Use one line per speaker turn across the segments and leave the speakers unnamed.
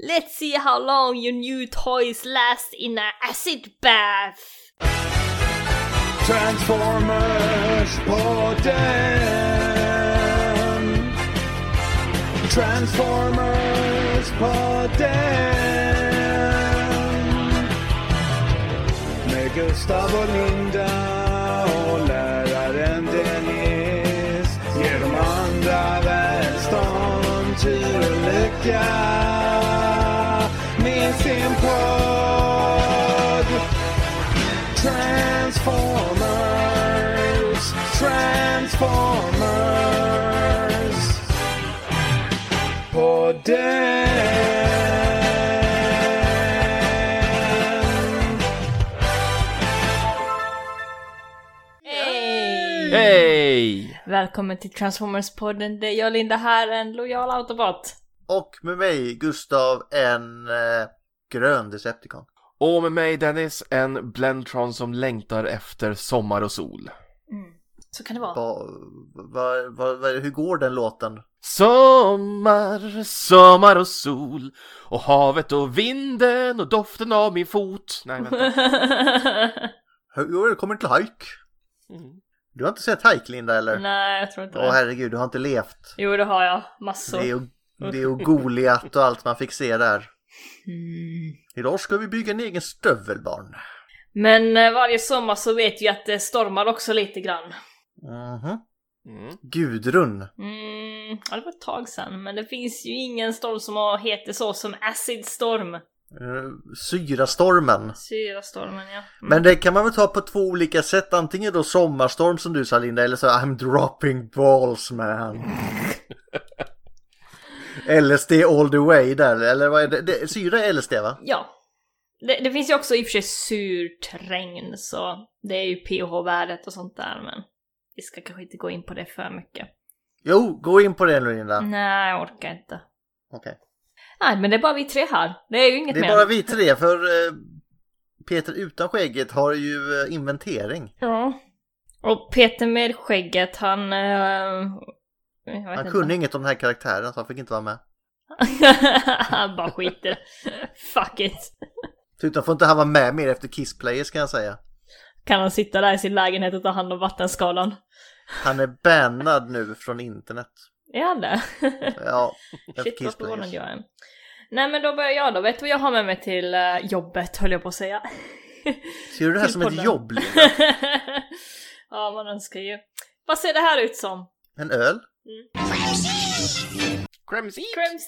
Let's see how long your new toys last in an acid bath!
Transformers podden. Transformers podden. Med Gustav och Linda och läraren Dennis. Ger de andra välstånd, tur och lycka. Med sin podd. Transformers, Transformers. Podden.
Hey.
Hej!
Välkommen till Transformers-podden, det är jag Linda här, en lojal autobot.
Och med mig, Gustav, en eh, grön Decepticon.
Och med mig Dennis, en Blendtron som längtar efter sommar och sol.
Mm. Så kan det vara.
Va, va, va, va, hur går den låten?
Sommar, sommar och sol och havet och vinden och doften av min fot. Nej, vänta.
Hur jo, det kommer till hajk.
Mm.
Du har inte sett hajk, Linda, eller?
Nej, jag tror inte
Åh,
det.
herregud, du har inte levt.
Jo, det har jag. Massor.
Det är, ju- det är ju Goliat och allt man fick se där.
Mm.
Idag ska vi bygga en egen stövelbarn.
Men eh, varje sommar så vet vi att det stormar också lite grann.
Mhm.
Mm.
Gudrun.
Mm, ja, det var ett tag sedan, men det finns ju ingen storm som har- heter så som Acid Storm.
Eh, Syrastormen.
Syrastormen, ja. Mm.
Men det kan man väl ta på två olika sätt. Antingen då sommarstorm som du sa Linda eller så I'm dropping balls man. LSD all the way där, eller vad är det? det syra är LSD va?
Ja. Det, det finns ju också i och för sig surt regn, så det är ju pH-värdet och sånt där, men vi ska kanske inte gå in på det för mycket.
Jo, gå in på det nu Linda.
Nej, jag orkar inte.
Okej.
Nej, men det är bara vi tre här. Det är ju inget
Det är
mer.
bara vi tre för eh, Peter utan skägget har ju eh, inventering.
Ja. Och Peter med skägget, han... eh, jag vet
Han
inte.
kunde inget om den här karaktären så han fick inte vara med.
han bara skiter. Fuck it.
Utan får inte han vara med mer efter Kissplayers kan jag säga.
Kan han sitta där i sin lägenhet och ta hand om vattenskadan?
Han är bannad nu från internet.
Är han det?
Ja, efter
Shit vad förvånad
Kissplayers.
jag är. Nej men då börjar jag då. Vet du vad jag har med mig till eh, jobbet höll jag på att säga.
Ser du det här
Till
som ett
podden.
jobb? Linda?
ja man önskar ju. Vad ser det här ut som?
En öl?
Cremsi!
Crème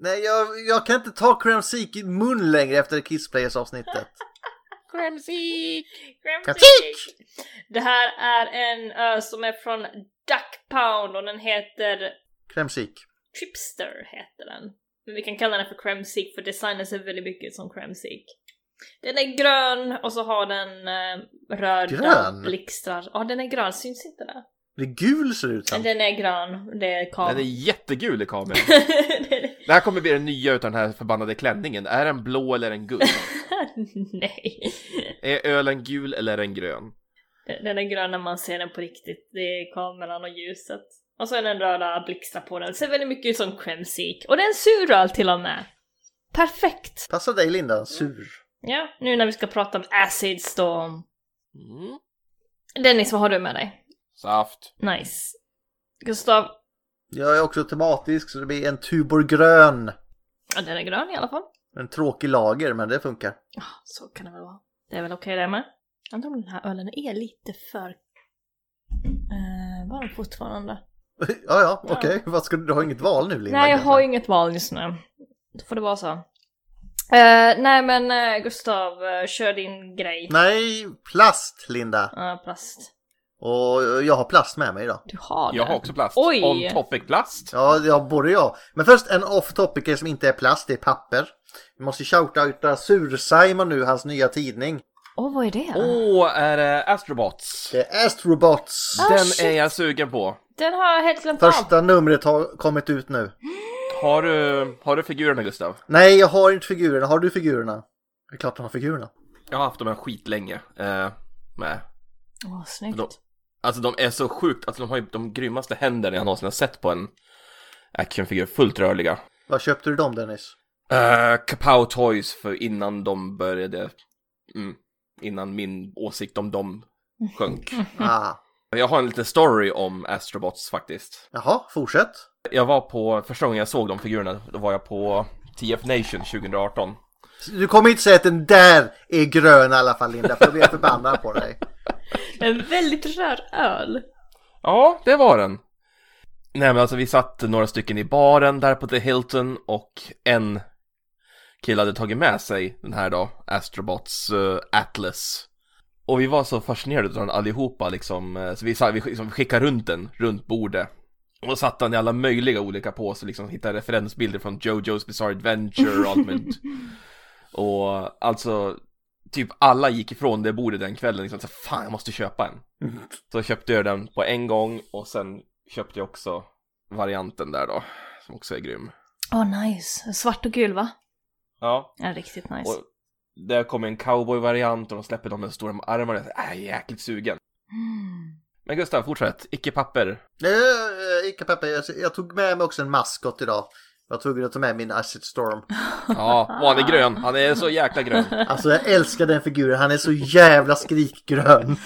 Nej, jag, jag kan inte ta Cramsik i mun längre efter Kissplayers avsnittet.
Cremsi!
Gremsik! Det här är en ö som är från Duck Pound och den heter
Cramsik.
Tripster heter den. Men vi kan kalla den för Cremsik för designen ser väldigt mycket ut som Cremsik. Den är grön och så har den eh, röda
Grön?
blixtrar. Ja, den är grön. Syns inte det?
Det är gul ser det ut som.
Den är grön. Det är kav.
Den är jättegul i kameran.
Den är-
Det här kommer bli den nya utav den här förbannade klänningen. Är den blå eller en gul?
Nej.
Är ölen gul eller en grön?
Den är grön när man ser den på riktigt. Det är kameran och ljuset. Och så är den röda blixtar på den. Ser väldigt mycket ut som Cremsik. Och det är en sur öl till och med. Perfekt!
Passa dig
Mm.
Linda, sur.
Ja, nu när vi ska prata om Acid Storm.
Mm.
Dennis, vad har du med dig?
Saft.
Nice. Gustav,
Jag är också tematisk så det blir en Tuborg grön.
ja, den är grön i alla fall.
En tråkig lager, men det funkar.
Så kan det väl vara. Det är väl okej det med. Jag undrar om den här ölen är lite för eh, varm fortfarande.
ja, ja, okej. Vad ska du, du har inget val nu Linda?
Nej, jag
kanske?
har ju inget val just nu. Då får det vara så. Eh, nej men eh, Gustav, eh, kör din grej.
Nej, plast Linda.
Ja, plast.
Och eh, jag har plast med mig idag.
Du har
Jag
det.
har också plast.
Oj.
On topic plast.
Ja, det har både jag. Men först en off topic som inte är plast, det är papper. Vi måste shoutouta Sur-Simon nu, hans nya tidning.
Åh, vad är det?
Åh, är det Astrobots?
Det är Astrobots!
Ah,
Den
shit.
är jag sugen på.
Den har jag helt glömt av.
Första numret har kommit ut nu.
Har du, har du figurerna Gustav?
Nej, jag har inte figurerna. Har du figurerna? Det är klart jag har figurerna.
Jag har haft dem här skitlänge. Eh, med.
Åh, snyggt.
De, alltså de är så sjukt, alltså de har ju de grymmaste händerna jag någonsin har sett på en actionfigur, fullt rörliga.
Vad köpte du dem Dennis?
Uh, Kapow Toys för innan de började, mm, innan min åsikt om dem sjönk.
Mm.
Ah.
Jag har en liten story om Astrobots faktiskt.
Jaha, fortsätt.
Jag var på, första gången jag såg de figurerna, då var jag på TF Nation 2018.
Du kommer inte säga att den där är grön i alla fall Linda, för då blir jag förbannad på dig.
En väldigt rör öl.
Ja, det var den. Nej men alltså vi satt några stycken i baren där på The Hilton och en kille hade tagit med sig den här då, Astrobots eh, Atlas. Och vi var så fascinerade av den allihopa liksom, eh, så vi, sa- vi sk- liksom, skickade runt den, runt bordet. Och satte den i alla möjliga olika påsar, liksom hittade referensbilder från Jojo's Bizarre Adventure och allt möjligt. Och alltså, typ alla gick ifrån det bordet den kvällen liksom, så fan jag måste köpa en. Så köpte jag den på en gång och sen köpte jag också varianten där då, som också är grym.
Åh nice. Svart och gul va?
Ja.
Ja, riktigt nice.
Och där kom en cowboy-variant och de släpper dem med stora armar och jag är jäkligt sugen.
Mm.
Men Gustav, fortsätt. Icke papper.
Eh, Ica Peppa, jag- jag tog med mig också en maskot idag. Jag tog att ta med min Acid Storm.
Ja, och han är grön. Han är så jäkla grön.
Alltså jag älskar den figuren, han är så jävla skrikgrön.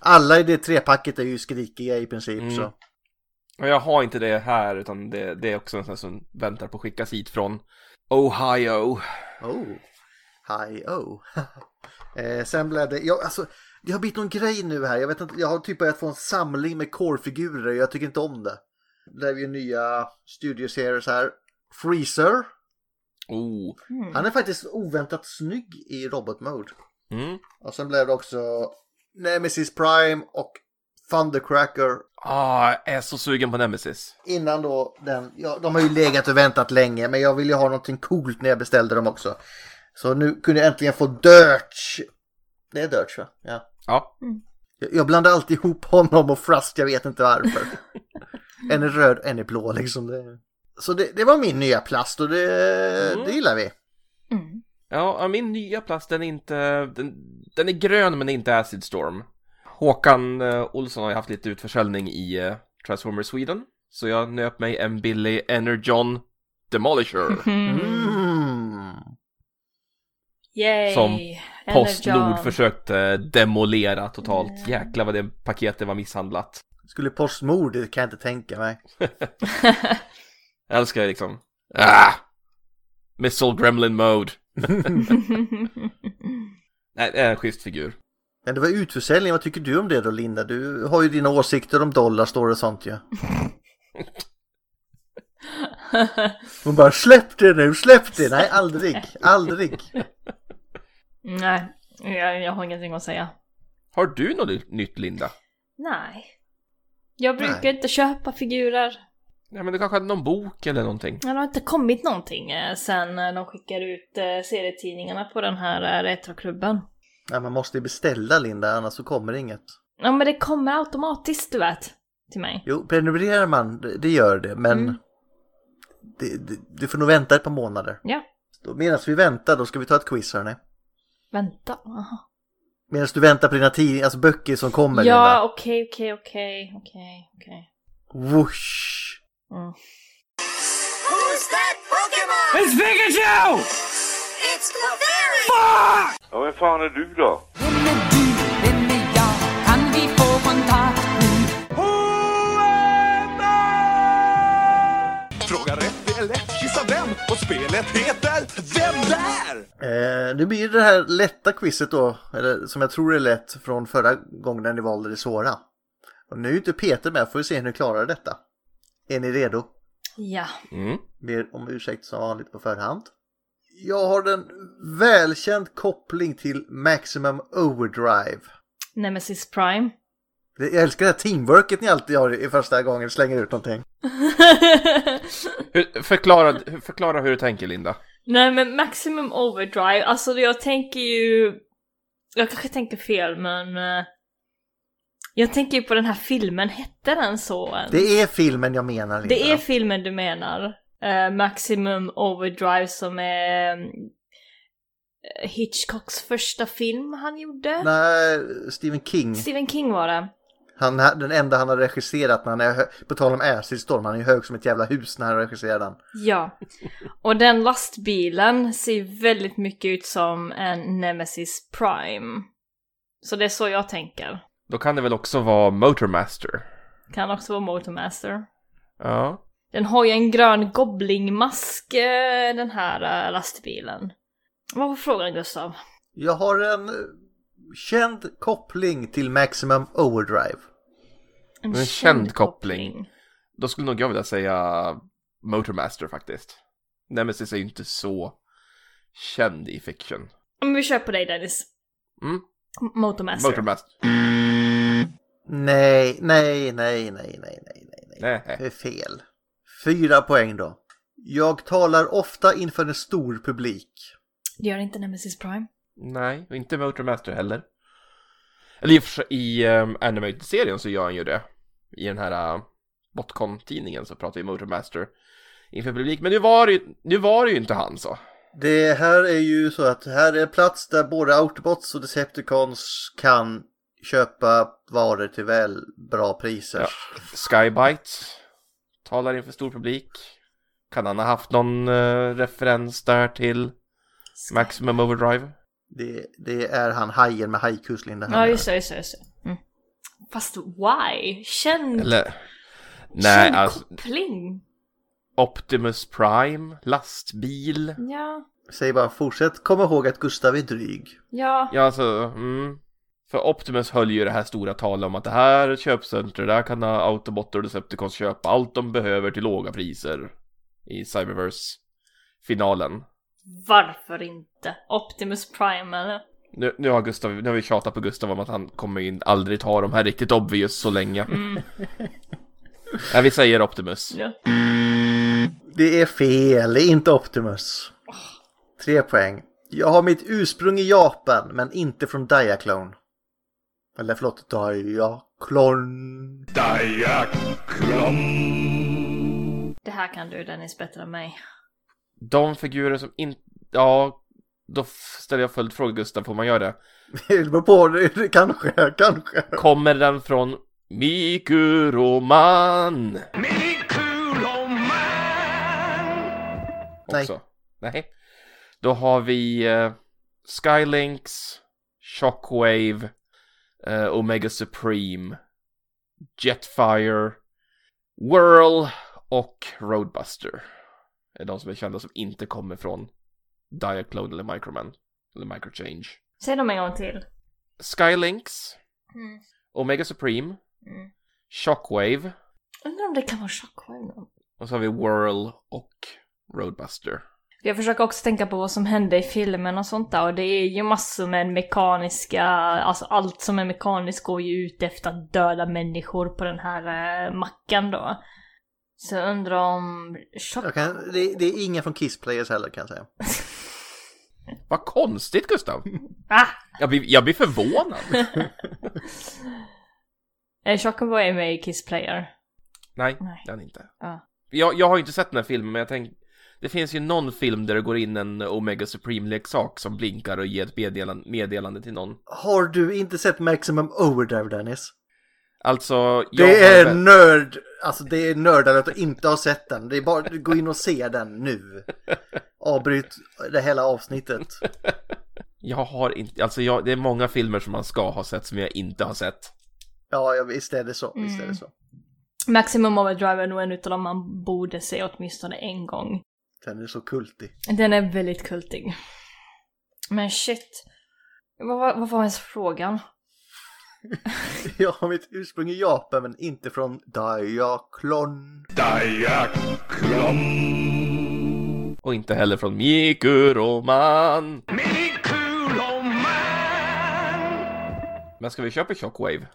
Alla i det trepacket är ju skrikiga i princip
Mm.
så.
Och jag har inte det här, utan det, det är också en sån här som väntar på att skickas hit från Ohio.
Oh, hi oh. eh, sen blev det, jag, alltså, det har blivit någon grej nu här. Jag vet inte, jag har typ börjat få en samling med core-figurer och jag tycker inte om det. Det är ju nya Studio Series här. Freezer,
Oh.
han är faktiskt oväntat snygg i robot-mode.
Mm.
Och sen blev det också Nemesis Prime och Thundercracker
Ah, jag är så sugen på Nemesis.
Innan då den, ja, de har ju legat och väntat länge men jag ville ju ha någonting coolt när jag beställde dem också. Så nu kunde jag äntligen få Dirch. Det är Dirch va? Ja.
Ja.
Jag, jag blandar alltid ihop honom och Frusk, jag vet inte varför. en är röd, en är blå liksom. Det. Så det, det var min nya plast och det, det gillar vi.
Mm.
Ja, ja, min nya plast den är inte, den, den är grön men inte Acid Storm. Håkan eh, Olsson har ju haft lite utförsäljning i eh, Transformers Sweden. Så jag nöp mig en billig Energon Demolisher.
Mm.
Yay!
Som Postnord
Energon.
försökte eh, demolera totalt. Jäklar vad det paketet var misshandlat.
Skulle Postmord, det kan jag inte tänka mig.
Jag älskar det liksom. Ah! Missile Gremlin Mode. Nej, det är en schysst figur.
Men det var utförsäljning, vad tycker du om det då Linda? Du har ju dina åsikter om dollar, står och sånt ju. Ja. Hon bara släpp det nu, släpp det! Nej, aldrig, aldrig.
Nej, jag, jag har ingenting att säga.
Har du något nytt Linda?
Nej. Jag brukar
Nej.
inte köpa figurer.
Nej men du kanske hade någon bok eller någonting?
Men Det har inte kommit någonting eh, sen eh, de skickar ut eh, serietidningarna på den här eh, retroklubben.
Nej, man måste ju beställa Linda, annars så kommer det inget.
Ja men det kommer automatiskt du vet. Till mig.
Jo, prenumererar man, det det gör det, men
Mm.
det, det, du får nog vänta ett par månader.
Ja.
Då, medan vi väntar, då ska vi ta ett quiz hörni.
Vänta. Aha.
Medan du väntar på dina tidningar, alltså böcker som kommer
Ja
Linda.
okej okej okej okej okej.
Whoosh!
Mm.
Who's that Pokemon?
It's Pikachu!
It's Clefairy!
Ja, vem fan är du då?
Vem är du? Vem är jag? Kan vi få kontakt nu?
Fråga rätt är lätt, gissa vem? Och spelet heter Vem där?
Eh, nu blir det här lätta quizet då, eller som jag tror är lätt från förra gången när ni valde det svåra. Och nu är ju inte Peter med, får vi se hur ni klarar detta. Är ni redo?
Ja.
Mm.
Ber om ursäkt som vanligt på förhand. Jag har en välkänd koppling till Maximum Overdrive.
Nemesis Prime.
Det- Jag älskar det här teamworket ni alltid har i första gången ni slänger ut någonting.
Hur, förklara, förklara hur du tänker Linda.
Nej men Maximum Overdrive, alltså jag tänker ju... Jag kanske tänker fel men... eh, Jag tänker ju på den här filmen, hette den så ens?
Det är filmen jag menar. Linda.
Det är filmen du menar. Eh, Maximum Overdrive som är mm, eh, Hitchcocks första film han gjorde.
Nej, Stephen King.
Stephen King var det.
Han, ha- den enda han har regisserat när han är, hö- på tal om Acidstorm, han är ju hög som ett jävla hus när han regisserar den.
Ja. Och den lastbilen ser väldigt mycket ut som en Nemesis Prime. Så det är så jag tänker.
Då kan det väl också vara Motormaster?
Kan också vara Motormaster.
Ja.
Den har ju en grön goblingmask, eh, den här eh, lastbilen. Vad var frågan Gustav?
Jag har en eh, känd koppling till Maximum Overdrive.
En,
känd koppling. Då skulle nog jag vilja säga Motormaster faktiskt. Nemesis är ju inte så känd i fiction.
Men vi kör på dig Dennis.
Mm.
M- Motormaster.
Motormaster.
Nej, nej, nej, nej, nej, nej, nej, nej. Det
Nej.
är fel. Fyra poäng då. Jag talar ofta inför en stor publik.
Det gör inte Nemesis Prime.
Nej, och inte Motormaster heller. Eller i och för sig, i um, animated-serien så gör han ju det. I den här uh, Botcon-tidningen så pratar ju Motormaster inför publik. Men nu var det ju, nu var det ju inte han så.
Det här är ju så att här är en plats där både Autobots och Decepticons kan köpa varor till väl bra priser.
Ja. Skybite talar inför stor publik. Kan han ha haft någon eh, referens där till Maximum Overdrive?
Det, det är han hajen med hajkusling det här.
Ja, just det, just det, just det. Mm. Fast why? Känd,
Eller? Nej,
känd
alltså
koppling.
Optimus Prime, lastbil.
Ja,
Säg bara fortsätt kom ihåg att Gustav är dryg.
ja.
Ja, alltså, mm. För Optimus höll ju det här stora talet om att det här köpcentret, där kan Autobotter och Decepticons köpa allt de behöver till låga priser. I Cyberverse-finalen.
Varför inte? Optimus Prime eller?
Nu, nu, har Gustav, nu har vi tjatat på Gustav om att han kommer in, aldrig ta de här riktigt obvious så länge. Nej, vi säger Optimus.
Ja.
Det är fel, det är inte Optimus. Tre poäng. Jag har mitt ursprung i Japan men inte från Diaclone. Eller förlåt, Diaclone.
Det här kan du Dennis bättre än mig.
De figurer som inte... Ja, då f- ställer jag följdfråga Gustav, får man göra det?
Det beror på, kanske, kanske.
Kommer den från Mikuroman?
Nej.
Också? Nej. Då har vi eh, Skylinks, Shockwave, eh, Omega Supreme, Jetfire, Whirl och Roadbuster. Är de som är kända som inte kommer från Diaclone eller Microman eller Microchange.
Säg dem en gång till.
Skylinks,
Mm.
Omega Supreme,
Mm.
Shockwave
Undrar om det kan vara Shockwave någon
och så har vi Whirl och Roadbuster.
Jag försöker också tänka på vad som hände i filmen och sånt där och det är ju massor med mekaniska, alltså allt som är mekaniskt går ju ut efter att döda människor på den här eh, mackan då. Så jag undrar om...
Jag kan, det, det är ingen från Kiss Players heller kan jag säga.
Vad konstigt Gustav!
Ah!
Jag blir, jag blir förvånad!
Eh, Shockwave är med i Kiss Player.
Nej,
Nej.
den inte.
Ja.
Jag, jag har ju inte sett den här filmen men jag tänkte det finns ju någon film där det går in en Omega Supreme-leksak som blinkar och ger ett meddelande, meddelande till någon.
Har du inte sett Maximum Overdrive Dennis?
Alltså, jag
Det
har
är
väl-
nörd, alltså det är nördare att inte ha sett den. Det är bara gå in och se den nu. Avbryt det hela avsnittet.
Jag har inte, alltså jag, det är många filmer som man ska ha sett som jag inte har sett.
Ja, ja, visst är det så. Visst är
Mm.
det så.
Maximum Overdrive är nog en utav dem man borde se åtminstone en gång.
Den är så kultig.
Den är väldigt kultig. Men shit. Vad, vad, vad var ens frågan?
Jag har mitt ursprung i Japan men inte från Diaklon.
Och inte heller från Mikuroman. Men ska vi köpa Shockwave?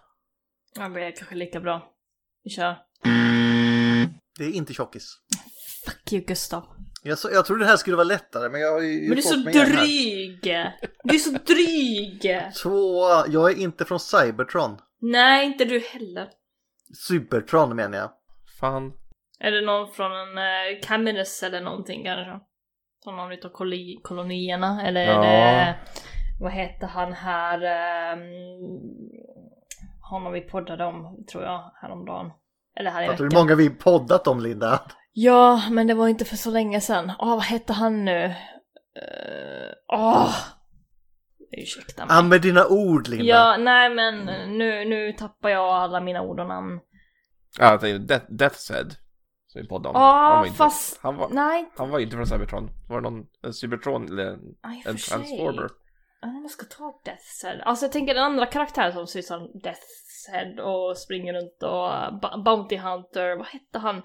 Ja, det är kanske lika bra. Vi kör.
Det är inte tjockis.
Fuck you Gustav.
Jag, så, jag trodde det här skulle vara lättare men jag har ju
Men du är
fått
så
mig igen här.
dryg! Du är så dryg!
Tvåa, jag är inte från Cybertron.
Nej, inte du heller.
Cybertron menar jag.
Fan.
Är det någon från en eh, Caminus eller någonting kanske? Från någon utav koli- kolonierna? Eller är
Ja.
det... Vad heter han här? Um, ehm, honom vi poddade om, tror jag, häromdagen. Eller här i
Fattar du
veckan.
hur många vi poddat om Linda?
Ja, men det var inte för så länge sedan. Åh, vad hette han nu? Eh, Åh! Ursäkta mig.
Använd dina ord Linda.
Ja, nej men nu, nu tappar jag alla mina ord och namn.
Ja, det är ju Ah, Death, Death Said. Som vi poddade om. Han
Ja,
var inte-
fast...
oh Han var,
Nej,
han var inte från Cybertron. Var det någon en Cybertron eller en,
nej för
en
sig.
Transformer?
Jag undrar om jag ska ta Death Head. Alltså jag tänker den andra karaktären som ser ut som Death Head och springer runt och uh, Bo- Bounty Hunter, vad hette han?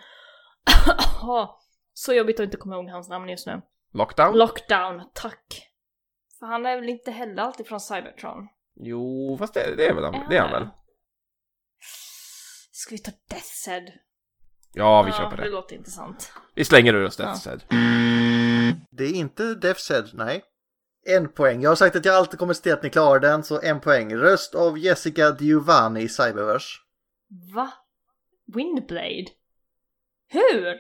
Så jobbigt att inte komma ihåg hans namn just nu.
Lockdown?
Lockdown, tack. För han är väl inte heller alltid från Cybertron?
jo, fast det, det är väl han, det är han väl?
Ska vi ta Death Head?
Ja, vi köper
Det
det.
låter intressant.
Vi slänger ur oss Death
Ja.
Said.
Det är inte Death's Head, nej. En poäng. Jag har sagt att jag alltid kommer se att ni klarar den, så en poäng. Röst av Jessica Giovanni i Cyberverse.
Va? Windblade? Hur?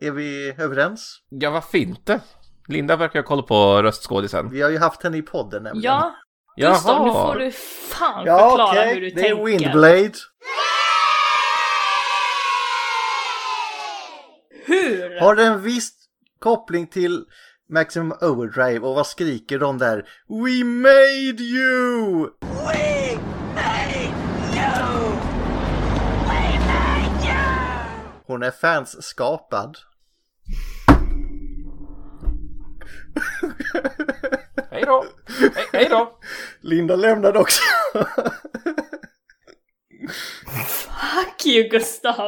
Är vi överens?
Ja, varför inte? Linda verkar ha koll på röstskådisen.
Vi har ju haft henne i podden nämligen.
Ja, Gustav, nu får du fan
Ja,
förklara
okej.
hur du
Det
tänker.
är Windblade.
Hur?
Har den viss koppling till Maximum Overdrive och vad skriker de där? We made you! Hon är fansskapad.
Hej då! Hej, hej då!
Linda lämnade också.
Fuck you Gustav!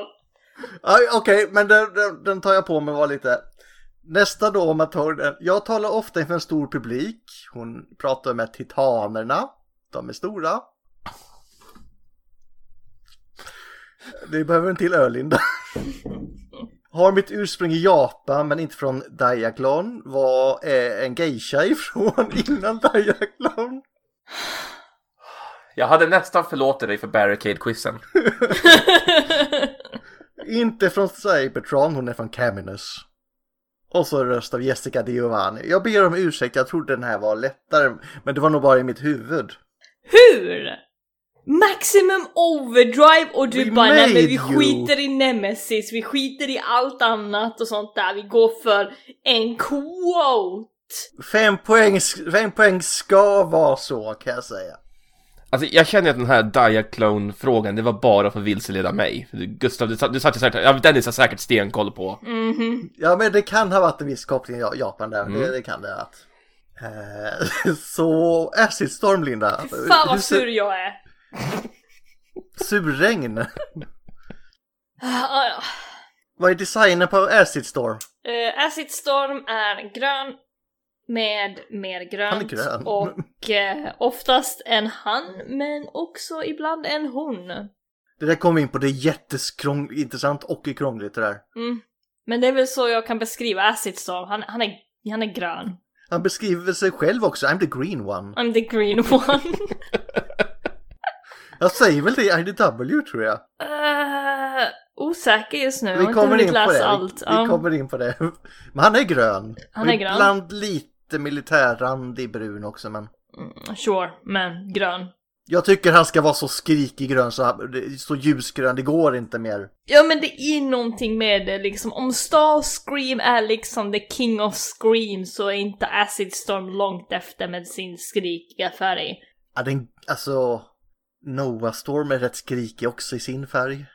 Aj, Okej, men den, den, den tar jag på mig var lite. Nästa då om man tar den. Jag talar ofta inför en stor publik. Hon pratar med titanerna. De är stora. Det behöver en till öl, Linda. Har mitt ursprung i Japan men inte från Diaklon. Var eh, en geisha ifrån innan Diaklon.
Jag hade nästan förlåtit dig för Barricade-quizen.
Inte från Cybertron, hon är från Caminus. Och så röst av Jessica Giovanni. Jag ber om ursäkt, jag trodde den här var lättare, men det var nog bara i mitt huvud.
Hur? Maximum overdrive och du
We
bara nej men
made
vi
you."
skiter i Nemesis, vi skiter i allt annat och sånt där, vi går för en quote!
Fem poäng, fem poäng ska vara så, kan jag säga.
Alltså, jag känner ju att den här Diaclone-frågan, det var bara för att vilseleda mig. Du, Gustav, du, sa- du satt ju säkert... Ja, Dennis har säkert stenkoll på.
Mhm.
Ja, men det kan ha varit en viss koppling till Ja- Japan där. Det, det kan det ha varit. Eh, Så Acid Storm, Linda.
Fan
Eh, Hur
vad
ser-
sur jag är!
Surregn.
Ah, ja.
Vad är designen på Acid Storm?
Eh, Acid Storm är grön med mer grönt
Han är grön.
och eh, oftast en han men också ibland en hon.
Det där kom vi in på, det är jätteintressant och krångligt det där.
Mm. Men det är väl så jag kan beskriva Acid Storm. Han, han, är, han är grön.
Han beskriver sig själv också, I'm the green one.
I'm the green one.
Jag säger väl det i IDW tror jag.
Eh, osäker just nu. Jag har
Vi
inte
kommer
hunnit
in på
läsa
det.
allt.
Vi,
Ja.
vi kommer in på det. Men han är grön.
Han är
Och
grön.
Ibland lite militärrandig brun också men.
Sure, men grön.
Jag tycker han ska vara så skrikig grön så, han- så ljusgrön, det går inte mer.
Ja men det är någonting med det liksom. Om Starscream är liksom the king of scream så är inte Acid Storm långt efter med sin skrikiga färg.
Ja, den, alltså, Noah Storm är rätt skrikig också i sin färg.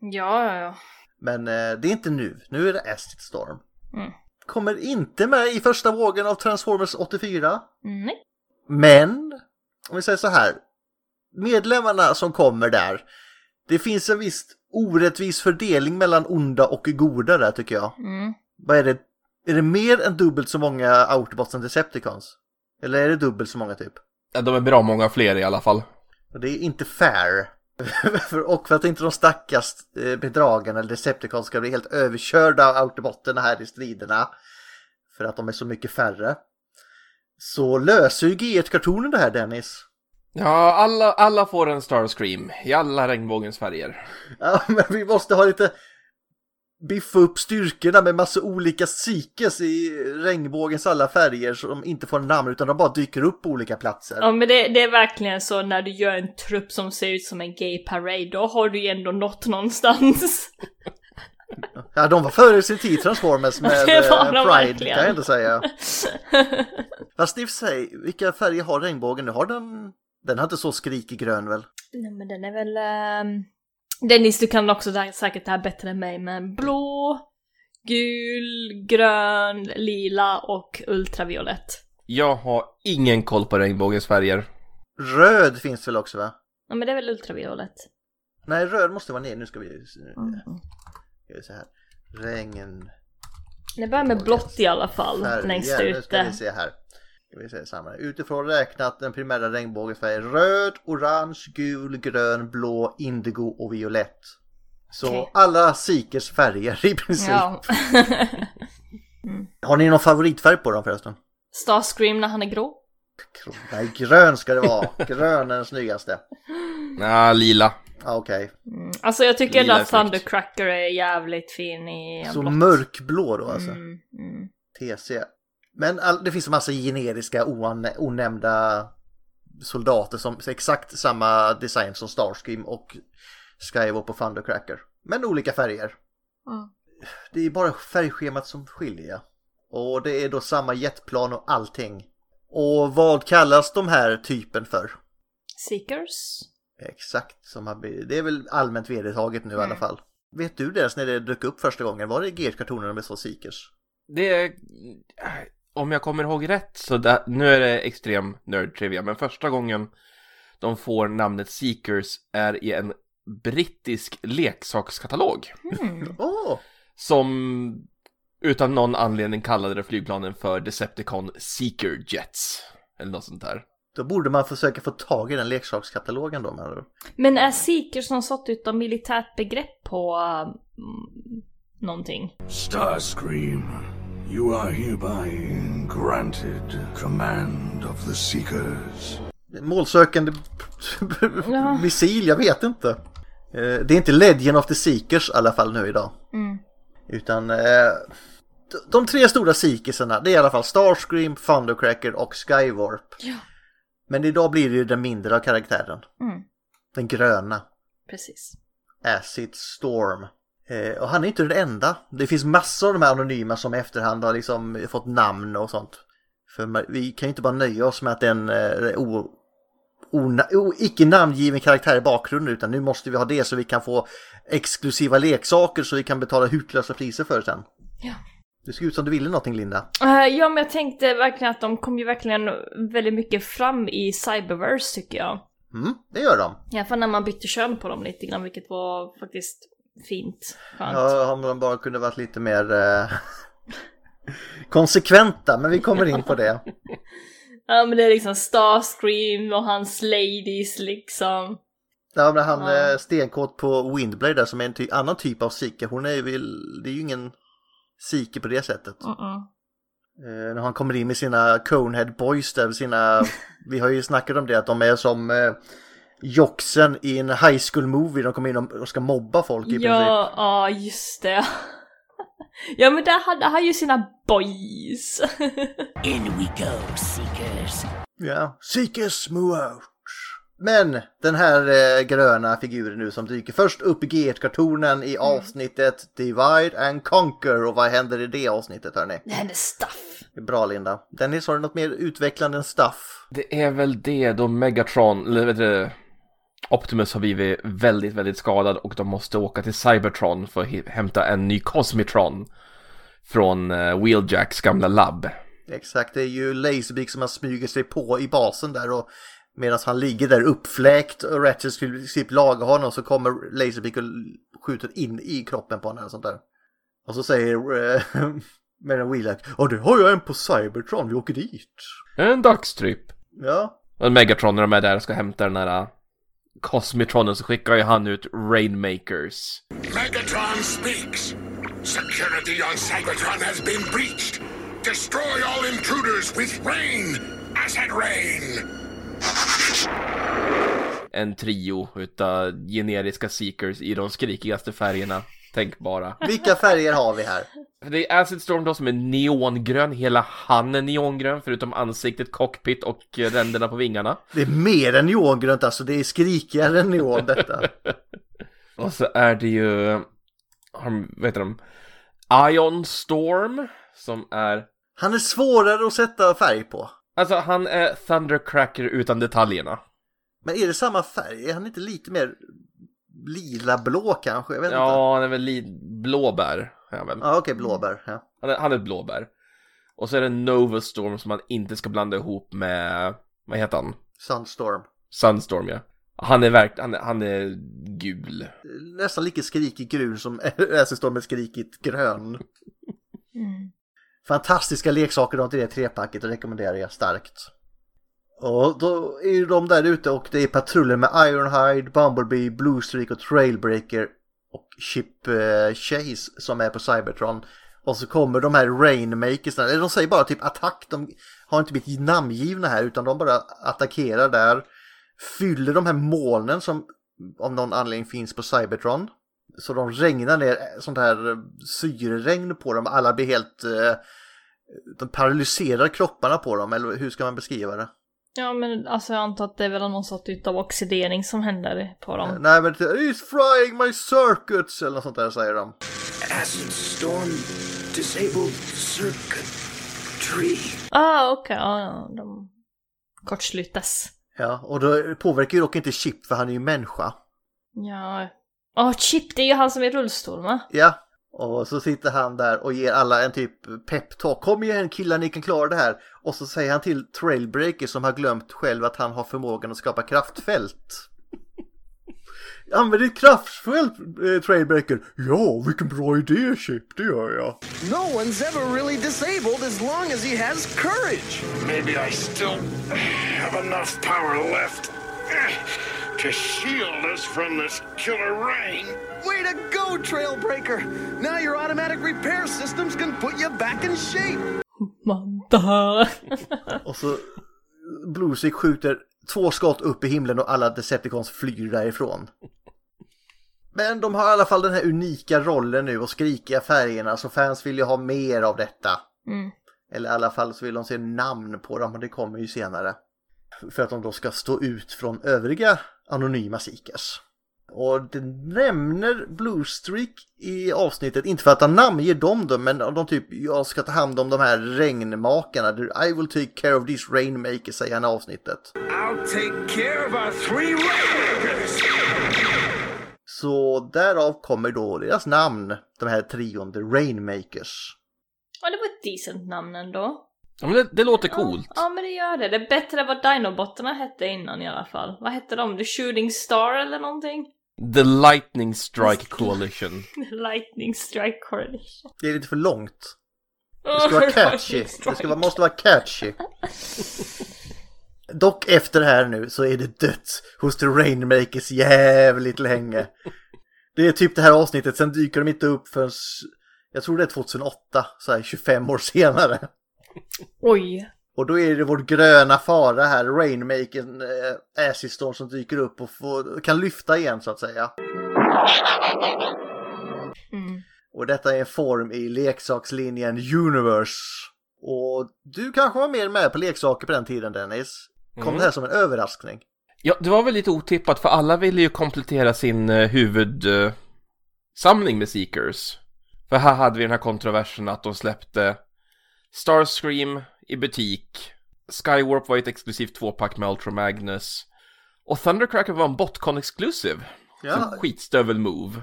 Ja, ja, ja.
Men eh, det är inte nu, nu är det Acid Storm.
Mm.
Kommer inte med i första vågen av Transformers 84.
Mm, Nej.
Men, om vi säger så här. Medlemmarna som kommer där, det finns en viss orättvis fördelning mellan onda och goda där tycker jag.
Mm.
Vad är det? Är det mer än dubbelt så många Autobots än Decepticons? Eller är det dubbelt så många typ?
Ja, De är bra många fler i alla fall.
Och det är inte fair. För- och för att inte de stackars eh, bedragarna eller Decepticons ska bli helt överkörda av Autobotterna här i striderna. För att de är så mycket färre. Så löser ju G1-kartonen det här Dennis.
Ja, alla, alla får en Starscream i alla regnbågens färger.
Ja, men vi måste ha lite biffa upp styrkorna med massa olika psykes i regnbågens alla färger som inte får namn utan de bara dyker upp på olika platser.
Ja men det, det är verkligen så när du gör en trupp som ser ut som en gay parade, då har du ju ändå nått någonstans.
Ja, de var före sin tid Transformers med
Det var
eh,
de
Pride
verkligen.
kan jag inte säga. Fast i och för sig, vilka färger har regnbågen nu? Har den... Den har inte så skrikig grön väl?
Nej men den är väl... ehm, Dennis, du kan också där- säkert det här bättre än mig, men blå, gul, grön, lila och ultraviolett.
Jag har ingen koll på regnbågens färger.
Röd finns väl också va?
Ja men det är väl ultraviolett.
Nej, röd måste vara ner. Nu ska vi...
Mm.
Ska vi se här. Regn...
Det börjar med blått i alla fall,
färger.
längst
Nu ska vi
ute.
se här. Ska vi se samma. Utifrån räknat den primära regnbågens färger röd, orange, gul, grön, blå, indigo och violett. Så
Okej.
alla Sikers färger i princip.
Ja.
Har ni någon favoritfärg på dem förresten?
Starscream när han är grå.
Nej, grön ska det vara. Grön är den snyggaste.
Ah, lila.
Ja, Okej,
Mm. Alltså jag tycker
Lila
ändå
är
att
snyggt.
Thundercracker är jävligt fin i
så
blått.
mörkblå då alltså.
Mm, mm.
TC. Men all, det finns en massa generiska oan, onämnda soldater som exakt samma design som Starscream och Skywalk och Thundercracker. Men olika färger.
Ja.
Det är bara färgschemat som skiljer. Och det är då samma jetplan och allting. Och vad kallas de här typen för?
Seekers?
Exakt, som har, blivit- det är väl allmänt vedertaget nu i alla fall. Vet du det ens när det dök upp första gången? Var det GH-kartonerna med så Seekers?
Det är... Om jag kommer ihåg rätt så det, nu är det extrem nerd trivia, men första gången de får namnet Seekers är i en brittisk leksakskatalog
Mm.
Åh!
som utan någon anledning kallade det flygplanen för Decepticon Seeker Jets eller något sånt där.
Då borde man försöka få tag i den leksakskatalogen då. Men...
Men är Seekers någon sort utav militärt begrepp på mm, någonting?
Starscream, you are hereby granted command of the Seekers.
Målsökande
Ja.
missil, jag vet inte. Eh, Det är inte Legend of the Seekers i alla fall nu idag.
Mm.
Utan eh, d- de tre stora Seekersarna, det är i alla fall Starscream, Thundercracker och Skywarp. Men idag blir det ju den mindre av karaktären.
Mm.
Den gröna.
Precis.
Acid Storm. Eh, och han är inte den enda. Det finns massor av de här anonyma som i efterhand har liksom fått namn och sånt. För ma- vi kan ju inte bara nöja oss med att en eh, o, ona, o, icke namngiven karaktär i bakgrunden utan nu måste vi ha det så vi kan få exklusiva leksaker så vi kan betala hutlösa priser för sen.
Ja.
Det ser ut som du ville någonting Linda.
Eh, ja men jag tänkte verkligen att de kom ju verkligen väldigt mycket fram i Cyberverse tycker jag.
Mm, det gör de.
I alla fall när man bytte kön på dem lite grann vilket var faktiskt fint. Skönt.
Ja, om de bara kunde varit lite mer eh, konsekventa men vi kommer in på det.
Ja men det är liksom Starscream och hans ladies liksom.
Ja, men han
Ja.
är stenkåt på Windblade där som är en ty- annan typ av sike. Hon är väl, det är ju ingen sike på det sättet.
Mm-mm.
Eh, när han kommer in med sina Conehead Boys där, sina, vi har ju snackat om det att de är som eh, joxen i en high school movie. De kommer in och och ska mobba folk i princip.
Ja, ja just det. ja men där hade han ju sina boys.
Ja, Seekers move out. Men den här eh, gröna figuren nu som dyker först upp i G1-kartonen
Mm.
i avsnittet Divide and Conquer. Och vad händer i det avsnittet hörni?
det hände stuff.
Det är Bra Linda. Dennis, har du något mer utvecklande än Staff?
Det är väl det då Megatron, eller vet du, Optimus har blivit väldigt, väldigt skadad och de måste åka till Cybertron för att hi- hämta en ny Cosmitron från eh, Wheeljacks gamla labb.
Exakt, det är ju Laserbeak som har smugit sig på i basen där och medan han ligger där uppfläkt och Ratchet skulle i princip laga honom så kommer Laserbeak och skjuter in i kroppen på honom eller sånt där. Och så säger eh, Medan Wheelack, ja det har jag en på Cybertron, vi åker dit.
En dagstripp.
Ja,
Och Megatron när de är där och ska hämta den här eh, Cosmitronen så skickar ju han ut Rainmakers.
Megatron speaks. Security on Cybertron has been breached. Destroy all intruders with rain. Acid rain.
En trio utav generiska Seekers i de skrikigaste färgerna. tänkbara.
Vilka färger har vi här?
Det är Acid Storm då som är neongrön, hela han är neongrön förutom ansiktet, cockpit och eh, ränderna på vingarna.
Det är mer än neongrönt alltså, det är skrikigare än neon detta.
Och så är det ju, har de- vad heter de? Ion Storm som är,
Han är svårare att sätta färg på.
alltså han är Thundercracker utan detaljerna.
Men är det samma färg? Är han inte lite mer lila-blå kanske? Jag vet inte.
Ja, han är väl li- blåbär. är han väl.
Ja, okej, blåbär. Ja.
Han är, han är ett blåbär. Och så är det Nova Storm som man inte ska blanda ihop med, vad heter han?
Sunstorm.
Sunstorm ja. Han är verk, han, är- han är gul.
Nästan lika skrikig grön som Ösestorm är skrikigt grön. Fantastiska leksaker de till det trepacket och rekommenderar jag starkt. Och då är ju de där ute och det är patruller med Ironhide, Bumblebee, Bluestreak och Trailbreaker och Chip eh, Chase som är på Cybertron. Och så kommer de här Rainmakers, eller de säger bara typ attack, de har inte blivit namngivna här utan de bara attackerar där. Fyller de här molnen som av någon anledning finns på Cybertron. Så de regnar ner sånt här eh, syreregn på dem, alla blir helt... eh, De paralyserar kropparna på dem, eller hur ska man beskriva det?
Ja men alltså jag antar att det är väl någon sorts utav oxidering som händer på dem.
Eh, Nej men it's frying my circuits eller något sånt där säger de.
Acid storm disabled circuit tree.
Ah okej, ja, ja de kortslutas.
Ja, och då påverkar ju dock inte Chip för han är ju människa.
Ja. Åh Chip, det är ju han som är i rullstol va?
Ja, och så sitter han där och ger alla en typ peptalk. Kom igen killar, ni kan klara det här. Och så säger han till Trailbreaker som har glömt själv att han har förmågan att skapa kraftfält. Använd ditt kraftfält eh, Trailbreaker. Ja, vilken bra idé Chip, det gör jag.
No one's ever really disabled as long as he has courage.
Maybe I still have enough power left eh, to shield us from this killer rain.
Way to go, Trailbreaker! Now your automatic repair systems can put you back in shape.
Manda.
Och så Bluesick skjuter två skott upp i himlen och alla Decepticons flyr därifrån. Men de har i alla fall den här unika rollen nu och skrikiga färgerna så fans vill ju ha mer av detta. Eller i alla fall så vill de se namn på dem och det kommer ju senare. För att de då ska stå ut från övriga anonyma Seekers. Och det nämner Bluestreak i avsnittet, inte för att han namnger dem då, men de typ jag ska ta hand om de här regnmakarna. Du, I will take care of these rainmakers, säger han i avsnittet.
I'll take care of our three raiders.
Så därav kommer då deras namn, de här trion, the rainmakers.
Ja det var ett decent namn ändå.
Ja, men det, det låter coolt.
Ja, ja men det gör det. Det är bättre än vad Dinobotterna hette innan i alla fall. Vad hette de? The Shooting Star eller någonting?
The Lightning Strike Coalition.
Lightning Strike Coalition.
Det är lite för långt. Det ska vara catchy. Det ska vara, måste vara catchy. Dock efter det här nu så är det dött hos The Rainmakers jävligt länge. Det är typ det här avsnittet, sen dyker de inte upp förrän jag tror det är 2008, så här 25 år senare.
Oj.
Och då är det vår gröna fara här, Rainmakern, eh, Acid Storm som dyker upp och får, kan lyfta igen så att säga.
Mm.
Och detta är en form i leksakslinjen Universe. Och du kanske var mer med på leksaker på den tiden Dennis? Kom det här som en överraskning?
Ja, det var väl lite otippat för alla ville ju komplettera sin eh, huvudsamling med Seekers. För här hade vi den här kontroversen att de släppte Starscream i butik, Skywarp var ett exklusivt tvåpack med Ultra Magnus och Thundercracker var en Botcon exklusiv.
Ja,
Som skitstövel move.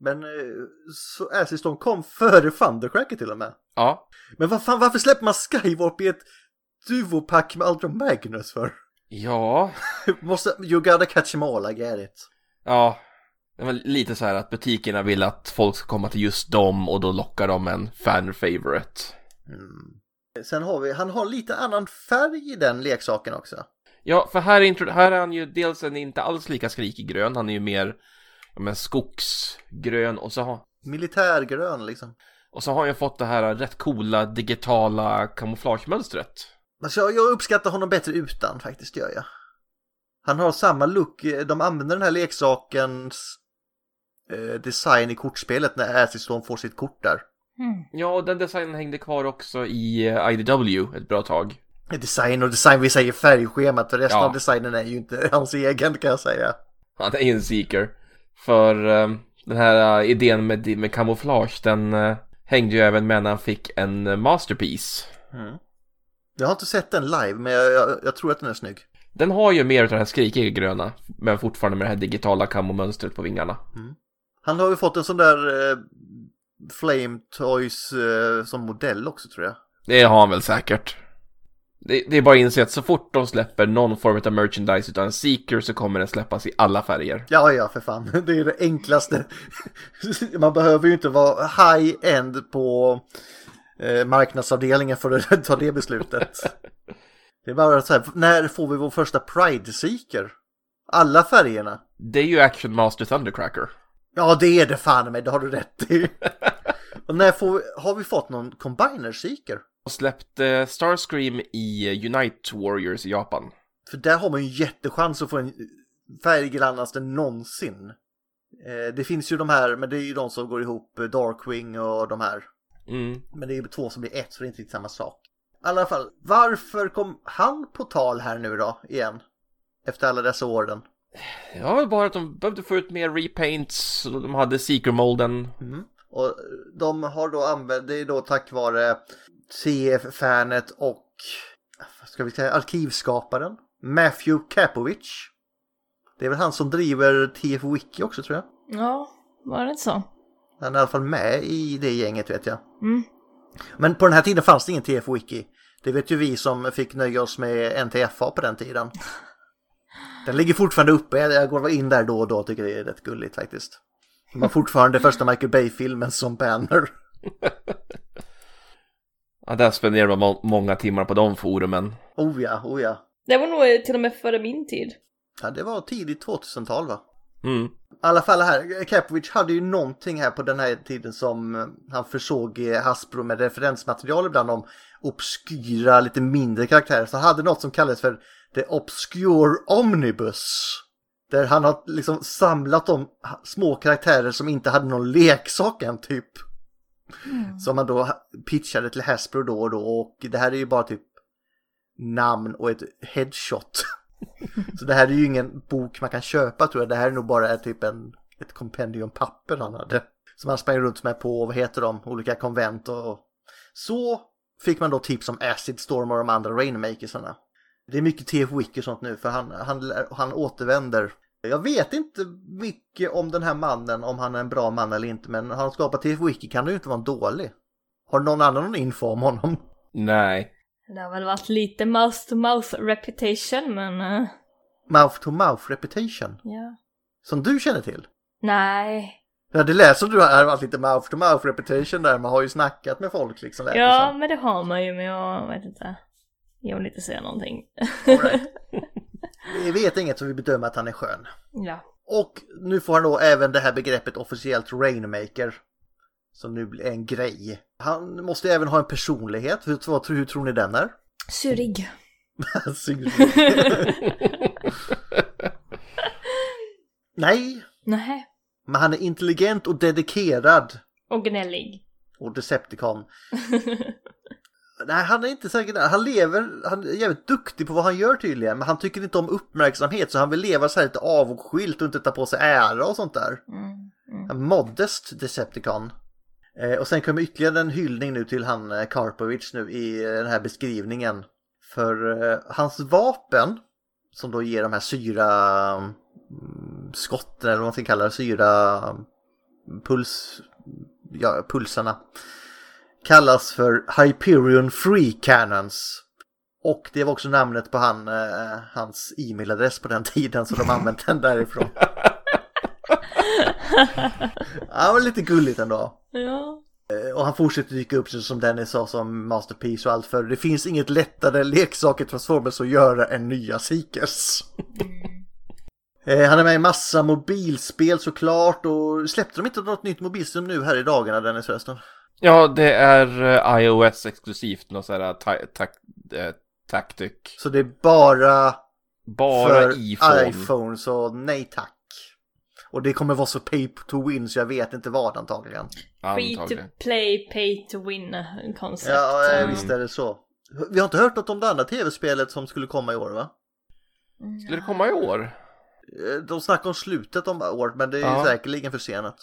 men eh, så Acid Storm kom före Thundercracker till och med.
Ja,
Men vad fan, varför släpper man Skywarp i ett duvopack med Ultra Magnus för?
ja,
Måste, you gotta catch em all, I get it.
ja. Det var lite så här att butikerna vill att folk ska komma till just dem och då lockar de en fan favorite.
Sen har vi, han har lite annan färg i den leksaken också.
Ja, för här är, intro- här är han ju dels en inte alls lika skrikig grön, han är ju mer ja, men skogsgrön och så, har,
Militärgrön liksom.
och så har han ju fått det här rätt coola digitala kamouflagemönstret.
Alltså jag, jag uppskattar honom bättre utan faktiskt, gör jag. Han har samma look. De använder den här leksakens eh, design i kortspelet när Asiston får sitt kort där.
Ja, och den designen hängde kvar också i eh, IDW ett bra tag.
Design och design, vi säger färgschemat och resten
Ja.
av designen är ju inte hans egen kan jag säga.
Han är ju en seeker. För eh, den här eh, idén med, med kamouflage, den eh, hängde ju även med när han fick en eh, masterpiece.
Jag har inte sett den live men jag, jag, jag tror att den är snygg.
Den har ju mer av det här skrikiga gröna, men fortfarande med det här digitala kamomönstret på vingarna.
Han har ju fått en sån där eh, Flame Toys eh, som modell också tror jag.
Det har han väl säkert. Det, det är bara att inse att så fort de släpper någon form av merchandise utan en seeker så kommer den släppas i alla färger.
Ja, ja, för fan. Det är det enklaste. Man behöver ju inte vara high-end på eh, marknadsavdelningen för att ta det beslutet. Det är bara så här, när får vi vår första Pride-seeker? Alla färgerna.
Det är ju Action Master Thundercracker.
Ja, det är det fan med, det har du rätt i. Och när får vi, har vi fått någon Combiner-seeker?
Och släppte Starscream i Unite Warriors i Japan.
För där har man ju en jättechans att få en färggrannaste någonsin. Eh, det finns ju de här, men det är ju de som går ihop, eh, Darkwing och de här.
Mm.
Men det är ju två som blir ett så det är inte riktigt samma sak. I alla fall, varför kom han på tal här nu då igen? Efter alla dessa åren.
Det var väl bara att de behövde få ut mer repaints, och de hade seeker-molden.
Och de har då använt, det är då tack vare CF-fanet och, vad ska vi säga, arkivskaparen. Matthew Kapovich. Det är väl han som driver TF Wiki också tror jag.
Ja, var det inte så?
Han är i alla fall med i det gänget vet jag.
Mm.
Men på den här tiden fanns det ingen TF Wiki. Det vet ju vi som fick nöja oss med NTFA på den tiden. Den ligger fortfarande uppe, jag jag går in där då och då och tycker det är rätt gulligt faktiskt. De har fortfarande första Michael Bay-filmen som banner.
Ja, där spenderade man må- många timmar på de forumen.
Oh ja, oh ja.
Det var nog till och med före min tid.
ja det var tidigt 2000-tal va?
Mm.
I alla fall här, Kapovic hade ju någonting här på den här tiden som eh, han försåg eh, Hasbro med referensmaterial ibland om obskyra, lite mindre karaktärer. Så han hade något som kallades för The Obscure Omnibus. Där han har liksom samlat de ha- små karaktärer som inte hade någon leksak än typ. Som han då ha- pitchade till Hasbro då och då och det här är ju bara typ namn och ett headshot. Så det här är ju ingen bok man kan köpa tror jag. Det här är nog bara typ en, ett kompendium papper han hade. Som han sprang runt med på, vad heter de, olika konvent och... Så fick man då tips om Acid Storm och de andra Rainmakersarna. Det är mycket TF Wick och sånt nu för han, han, han återvänder. Jag vet inte mycket om den här mannen, om han är en bra man eller inte, men har han skapat TF Wiki kan det ju inte vara en dålig. Har någon annan någon info om honom?
Nej.
Det har väl varit lite mouth to mouth reputation men... eh,
Mouth to mouth reputation,
ja.
som du känner till?
Nej.
Ja, det lät som du har varit lite mouth to mouth reputation där. Man har ju snackat med folk liksom. lät det
Ja,
som.
men det har man ju men jag vet inte. Jag vill inte säga någonting.
Vi vet inget som vi bedömer att han är skön.
ja.
Och nu får han då även det här begreppet officiellt Rainmaker. Som nu blir en grej. Han måste även ha en personlighet. Hur, vad, hur tror ni den är?
Surig.
Sur. Nej,
Nej.
men han är intelligent och dedikerad.
Och gnällig.
och Decepticon. Nej, han är inte säkert Han lever, han är jävligt duktig på vad han gör tydligen, men han tycker inte om uppmärksamhet så han vill leva så här lite avskilt och inte ta på sig ära och sånt där. En modest Decepticon. Eh, och sen kommer ytterligare en hyllning nu till han eh, Karpovich nu i eh, den här beskrivningen. För eh, hans vapen, som då ger de här syra mm, skotten eller vad man ska kalla det, syra mm, puls, ja, pulsarna kallas för Hyperion Free Cannons. Och det var också namnet på han, eh, hans e-mailadress på den tiden så de använde den därifrån. ja, men lite gulligt ändå.
Ja.
Eh, Och han fortsätter dyka upp som Dennis sa som Masterpiece och allt för det finns inget lättare leksaker i Transformers att göra än nya Seekers. Eh, Han är med i massa mobilspel såklart och släppte de inte något nytt mobilspel nu här i dagarna Dennis förresten?
Ja, det är eh, iOS exklusivt, något sådär ta- ta- eh, tactic.
Så det är bara
Bara
för
iPhone.
iPhone, så nej tack. Och det kommer vara så pay to win så jag vet inte vad antagligen.
Free to
Antagligen.
play, pay to win koncept.
Ja,
Mm.
eh, visst är det så. Vi har inte hört något om det andra tv-spelet som skulle komma i år va?
Skulle det komma i år?
Eh, De snackar om slutet om året men det är
Ja.
säkerligen försenat.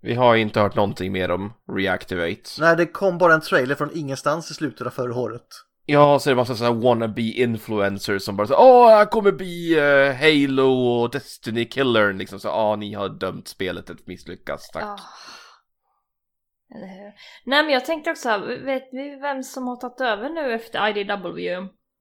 Vi har inte hört någonting mer om Reactivate.
Nej, det kom bara en trailer från ingenstans i slutet av förra året.
Ja, så är det massa sådana wannabe influencers som bara så Åh, han kommer bli eh, Halo och Destiny-killern liksom så Ja, ni har dömt spelet att misslyckas, tack.
Ah. Eller hur? Nej men jag tänkte också, här, vet vi vem som har tagit över nu efter IDW?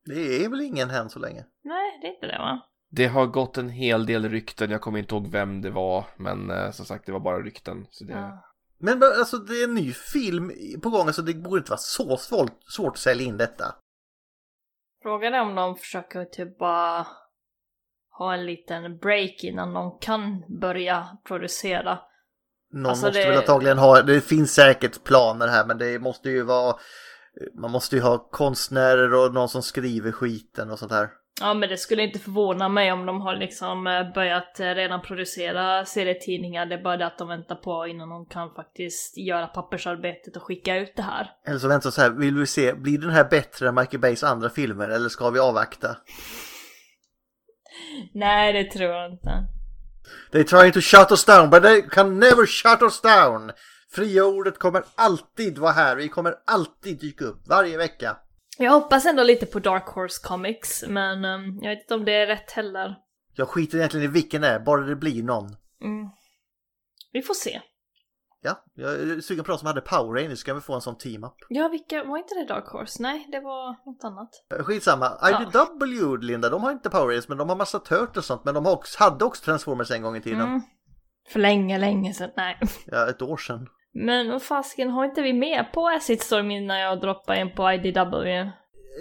Det är väl ingen hän så länge.
Nej, det är inte det va?
Det har gått en hel del rykten, jag kommer inte ihåg vem det var, men eh, som sagt, det var bara rykten. Så det...
Men bara, alltså det är en ny film på gång, alltså det borde inte vara så svårt, svårt att sälja in detta.
Frågan är om de försöker typ bara ha en liten break innan de kan börja producera.
Någon
Alltså,
måste
det-
väl antagligen ha, det finns säkert planer här men det måste ju vara, man måste ju ha konstnärer och någon som skriver skiten och sånt här.
Ja men det skulle inte förvåna mig om de har liksom eh, börjat eh, redan producera serietidningar. Det är bara det att de väntar på innan de kan faktiskt göra pappersarbetet och skicka ut det här.
Eller så väntar så här, vill vi se, blir den här bättre än Michael Bays andra filmer eller ska vi avvakta?
Nej det tror jag inte.
They trying to shut us down but they can never shut us down! Fria ordet kommer alltid vara här, vi kommer alltid dyka upp, varje vecka.
Jag hoppas ändå lite på Dark Horse Comics men ehm, jag vet inte om det är rätt heller.
Jag skiter egentligen i vilken det är, bara det blir någon.
Mm. Vi får se.
Ja, jag är sugen på de som hade Power Rangers, ska vi få en sån team-up.
Ja vilka, var inte det Dark Horse? Nej det var något annat.
Eh, Skitsamma, IDW Linda, de har inte Power Rangers men de har massa Turtles och sånt men de har också, hade också Transformers en gång i tiden.
Mm. För länge, länge sedan. Nej.
Ja, ett år sedan.
Men vad fasken, har inte vi med på Acid Storm innan jag droppar in på IDW?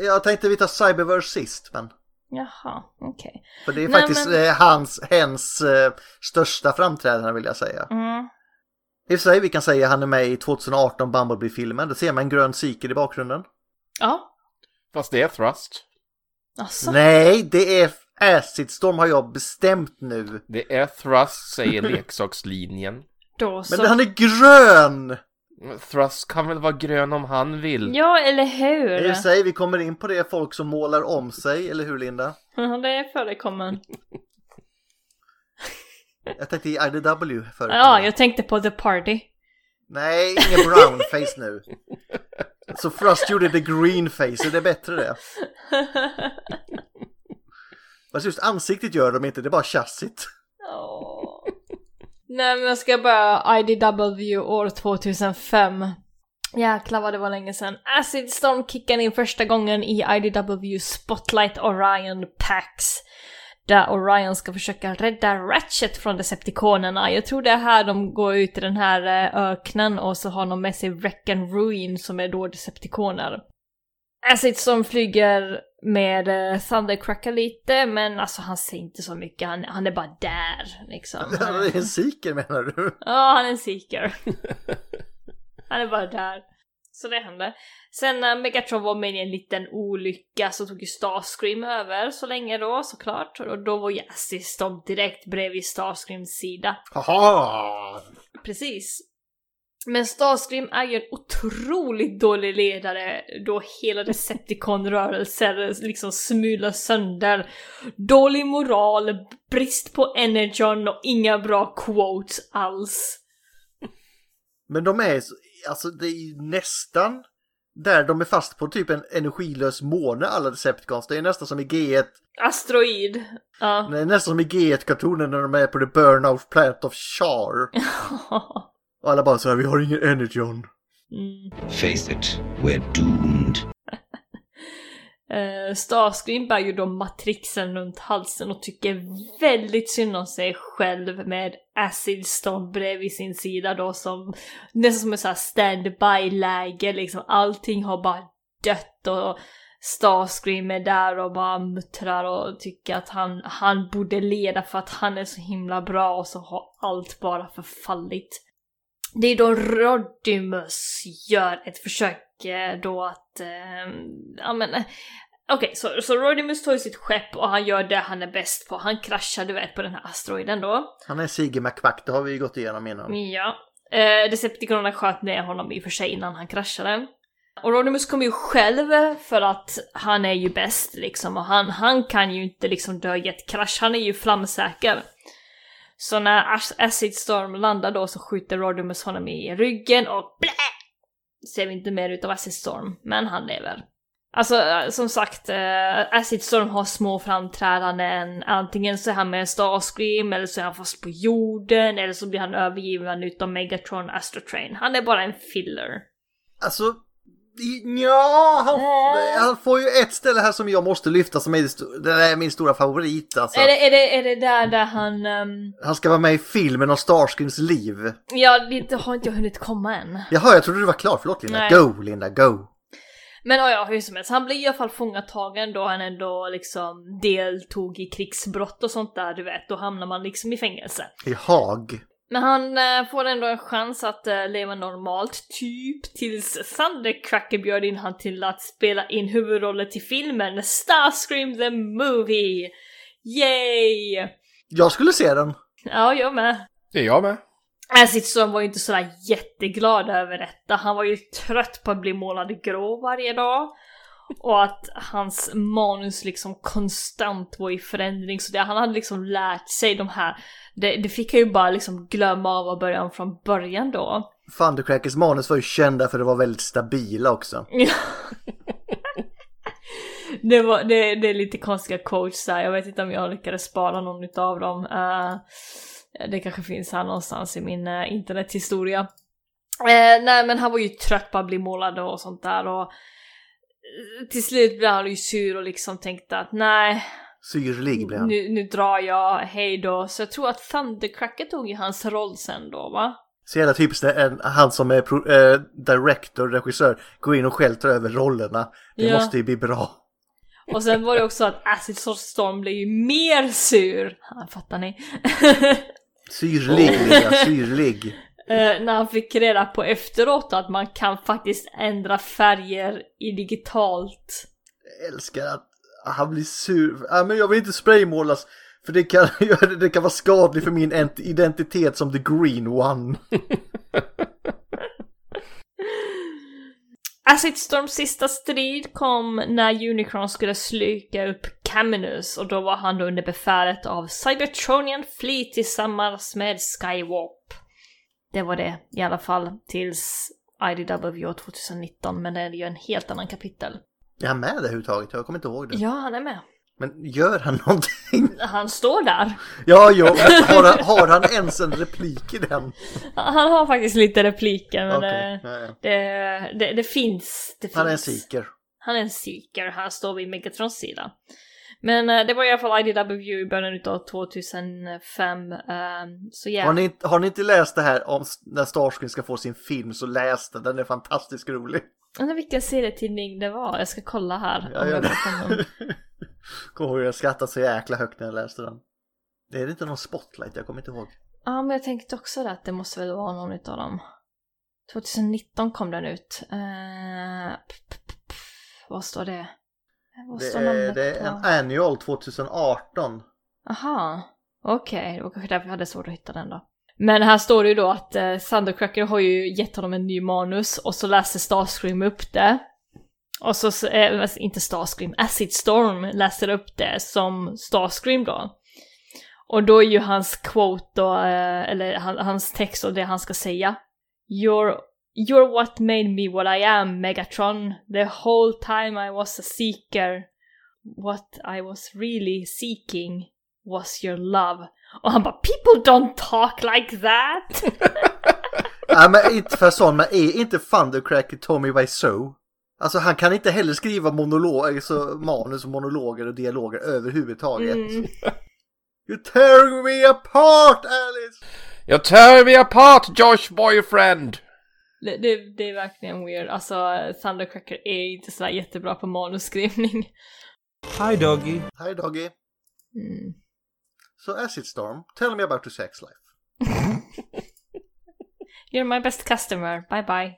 Jag tänkte vi tar Cyberverse sist men.
Jaha, okej.
För det är
Nej,
faktiskt
men-
eh, hans, hens eh, största framträdande vill jag säga.
Mm.
I och för sig vi kan säga han är med i 2018 Bumblebee-filmen, där ser man en grön cykel i bakgrunden.
Ja,
Fast det är Thrust.
alltså.
Nej, det är Acid Storm har jag bestämt nu.
Det är Thrust, säger leksakslinjen.
Då
Men
så.
han är grön!
Thrust kan väl vara grön om han vill?
Ja, eller hur?
I och för sig, vi kommer in på det, folk som målar om sig, eller hur Linda?
Ja, det förekommer.
Jag tänkte i IDW förut.
Ja, jag tänkte på The Party.
Nej, ingen brown face nu. Så Frost gjorde the green face, är det bättre det? Fast just ansiktet gör de inte, det är bara chassit.
Åh. Nej, men jag ska börja IDW år 2005. Jäklar vad det var länge sedan. Acid Storm kickade in första gången i IDW Spotlight Orion Pax. Där Orion ska försöka rädda Ratchet från Decepticonerna. Jag tror det är här de går ut i den här eh, öknen och så har de med sig Wreck and Ruin som är då Decepticoner. Acid som flyger med eh, Thundercracker lite, men alltså han ser inte så mycket, han, han är bara där liksom.
Det är en siker menar du?
Ja, han är en seeker. Han är bara där. Så det hände. Sen när Megatron var med i en liten olycka så tog ju Starscream över så länge då såklart. Och då var ju Assis de direkt bredvid Starscreams sida.
Haha!
Precis. Men Starscream är ju en otroligt dålig ledare då hela Decepticon-rörelser liksom smular sönder. Dålig moral, brist på energon och inga bra quotes alls.
Men de är, så- alltså det är ju nästan där de är fast på typ en energilös måne alla Decepticons. Det är nästan som i G1,
Asteroid. Ja.
det är nästan som i G1-kartonen när de är på the burnout planet of Char. Och alla bara så här, vi har ingen energon.
Mm.
Face it, we're doomed.
Eh, Starscream bär ju då matrixen runt halsen och tycker väldigt synd om sig själv med Acid Storm bredvid sin sida då som nästan som en sån här standby-läge liksom. Allting har bara dött och Starscream är där och bara muttrar och tycker att han, han borde leda för att han är så himla bra och så har allt bara förfallit. Det är då Rodimus gör ett försök eh, då att, eh, ehm, ja men, eh, Okej, så, så Rodimus tar ju sitt skepp och han gör det han är bäst på. Han kraschar du vet på den här asteroiden då.
Han är Sigge McQuack, det har vi ju gått igenom innan.
Ja. Eh, Decepticonerna sköt ner honom i och för sig innan han kraschade. Och Rodimus kommer ju själv för att han är ju bäst liksom och han, han kan ju inte liksom dö i ett krasch, han är ju flamsäker. Så när Ac- Acid Storm landar då så skjuter Rodimus honom i ryggen och blä! Ser vi inte mer utav Acid Storm, men han lever. Alltså eh, som sagt, eh, Acid Storm har små framträdanden. Antingen så är han med en Starscream, eller så är han fast på jorden, eller så blir han övergiven utav Megatron Astrotrain. Han är bara en filler.
Alltså, i- ja, han,
Äh.
han får ju ett ställe här som jag måste lyfta som är, det sto- det där är min stora favorit alltså.
Är det, är, det, är det där där han... ehm,
Han ska vara med i filmen om Starscreams liv.
ja, det har inte jag hunnit komma än.
Jaha, jag trodde du var klar. Förlåt Linda.
Nej.
Go Linda, go!
Men ja, ja, hur som helst, han blir i alla fall fångatagen då han ändå liksom deltog i krigsbrott och sånt där, du vet. Då hamnar man liksom i fängelse.
I Haag.
Men han eh, får ändå en chans att eh, leva normalt, typ tills Thundercracker bjöd in han till att spela in huvudrollen till filmen Starscream the Movie! Yay!
Jag skulle se den.
Ja, jag med.
Det är jag med.
Acid Storm var ju inte sådär jätteglad över detta. Han var ju trött på att bli målad grå varje dag. Och att hans manus liksom konstant var i förändring. Så det, han hade liksom lärt sig de här. Det, det fick han ju bara liksom glömma av och börja om från början då.
Thundercrackers manus var ju kända för att vara väldigt stabila också.
Det, var, det, det är lite konstiga quotes där. Jag vet inte om jag lyckades spara någon utav dem. Eh, det kanske finns här någonstans i min eh, internethistoria. Eh, nej men han var ju trött på att bli målad och sånt där och eh, till slut blev han ju sur och liksom tänkte att nej,
Syrlig blev han.
nu, nu drar jag, hej då. Så jag tror att Thundercracker tog ju hans roll sen då va?
Så jävla typiskt när en- han som är pro, eh, director, regissör, går in och själv tar över rollerna. Det
Ja.
måste ju bli bra.
Och sen var det också att Acid Storm blev ju mer sur. Ja, fattar ni?
Syrlig, Linda, syrlig.
Eh, när han fick reda på efteråt att man kan faktiskt ändra färger i digitalt.
Jag älskar att han blir sur. Ja, men jag vill inte spraymålas. För det kan, det kan vara skadligt för min ent- identitet som the green one.
Acid Storms sista strid kom när Unicron skulle sluka upp Caminus och då var han då under befälet av Cybertronian Fleet tillsammans med Skywarp. Det var det i alla fall tills IDW 2019 men det är ju en helt annan kapitel.
Är han med där överhuvudtaget? Jag kommer inte ihåg det.
Ja, han är med.
Men gör han någonting?
Han står där.
Ja, ja. Har han, har han ens en replik i den?
Han har faktiskt lite repliker men
Okej,
eh,
ja, ja.
Det, det, det finns. Det
Han är en
finns.
seeker.
Han är en seeker. Han står vid Megatrons sida. Men eh, det var i alla fall IDW i början utav 2005. ehm, så ja.
Har ni, inte- har ni inte läst det här om s- när Starscream ska få sin film så läs den, den är fantastiskt rolig.
Undrar vilken serietidning det var. Jag ska kolla här.
Ja,
om
gör
jag
det.
vet om någon.
Kommer ihåg jag skrattade så jäkla högt när jag läste den. Det är inte någon spotlight, jag kommer inte ihåg.
Ja, men jag tänkte också det, att det måste väl vara någon utav dem. 2019 kom den ut. Eh, p- p- p- p- vad står det? Eh, Vad
Det
står
är,
namnet
det är
på?
en annual 2018.
Aha, okej, det var kanske därför jag hade svårt att hitta den då. Men här står det ju då att eh, Thundercracker har ju gett honom en ny manus och så läser Starscream upp det. Och så, så- eh, alltså, inte Starscream, Acid Storm läser upp det som Starscream då. Och då är ju hans quote då, eh, eller han, hans text och det han ska säga. You're, you're what made me what I am, Megatron. The whole time I was a seeker. What I was really seeking was your love. Och han bara “People don't talk like that!”
Nej men inte för sån, men är inte Thundercracker Tommy Wiseau? Alltså han kan inte heller skriva monologer, alltså, manus och monologer och dialoger överhuvudtaget.
Mm.
You tear me apart Alice!
Jag tear me apart Josh boyfriend!
Det, det, det är verkligen weird. Alltså, Thundercracker är inte sådär jättebra på manusskrivning.
Hi, doggy.
Hi Doggy.
Mm.
So Acid Storm, tell me about your sex life.
You're my best customer, bye bye.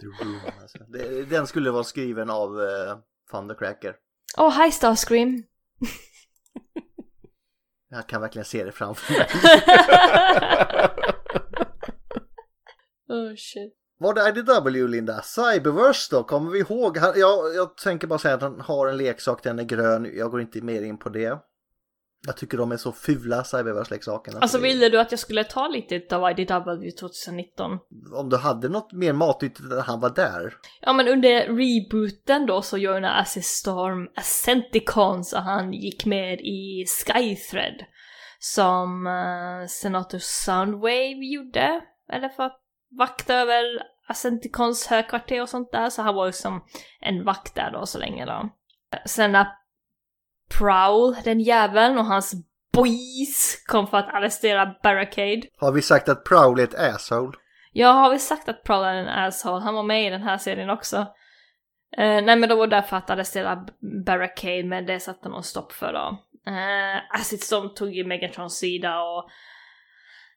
The Room. Alltså. Det- Den skulle vara skriven av eh, Thundercracker.
Åh, hi Starscream!
Jag kan verkligen se det framför mig.
oh shit.
Var det IDW Linda? Cyberverse då? Kommer vi ihåg? Han- Jag, jag tänker bara säga att han har en leksak, den är grön. Jag går inte mer in på det. Jag tycker de är så fula, Cyberverse-leksakerna.
Alltså
Det-
ville du att jag skulle ta lite av IDW 2019?
Om du hade något mer matnyttigt när han var där.
Ja men under rebooten då så joinade Acid Storm Ascenticon så han gick med i Skythread. Som eh, Senator Soundwave gjorde. Eller för att vakta över Ascenticons högkvarter och sånt där. Så han var ju som en vakt där då så länge då. Sen när Prowl, den jäveln och hans boys kom för att arrestera Barricade.
Har vi sagt att Prowl är ett asshole?
Jag har väl sagt att Prowl är en asshole, han var med i den här serien också. Eh, nej men det var därför att arrestera B- Barricade, men det satte någon stopp för då. Uh, Acid Storm tog ju Megatrons sida och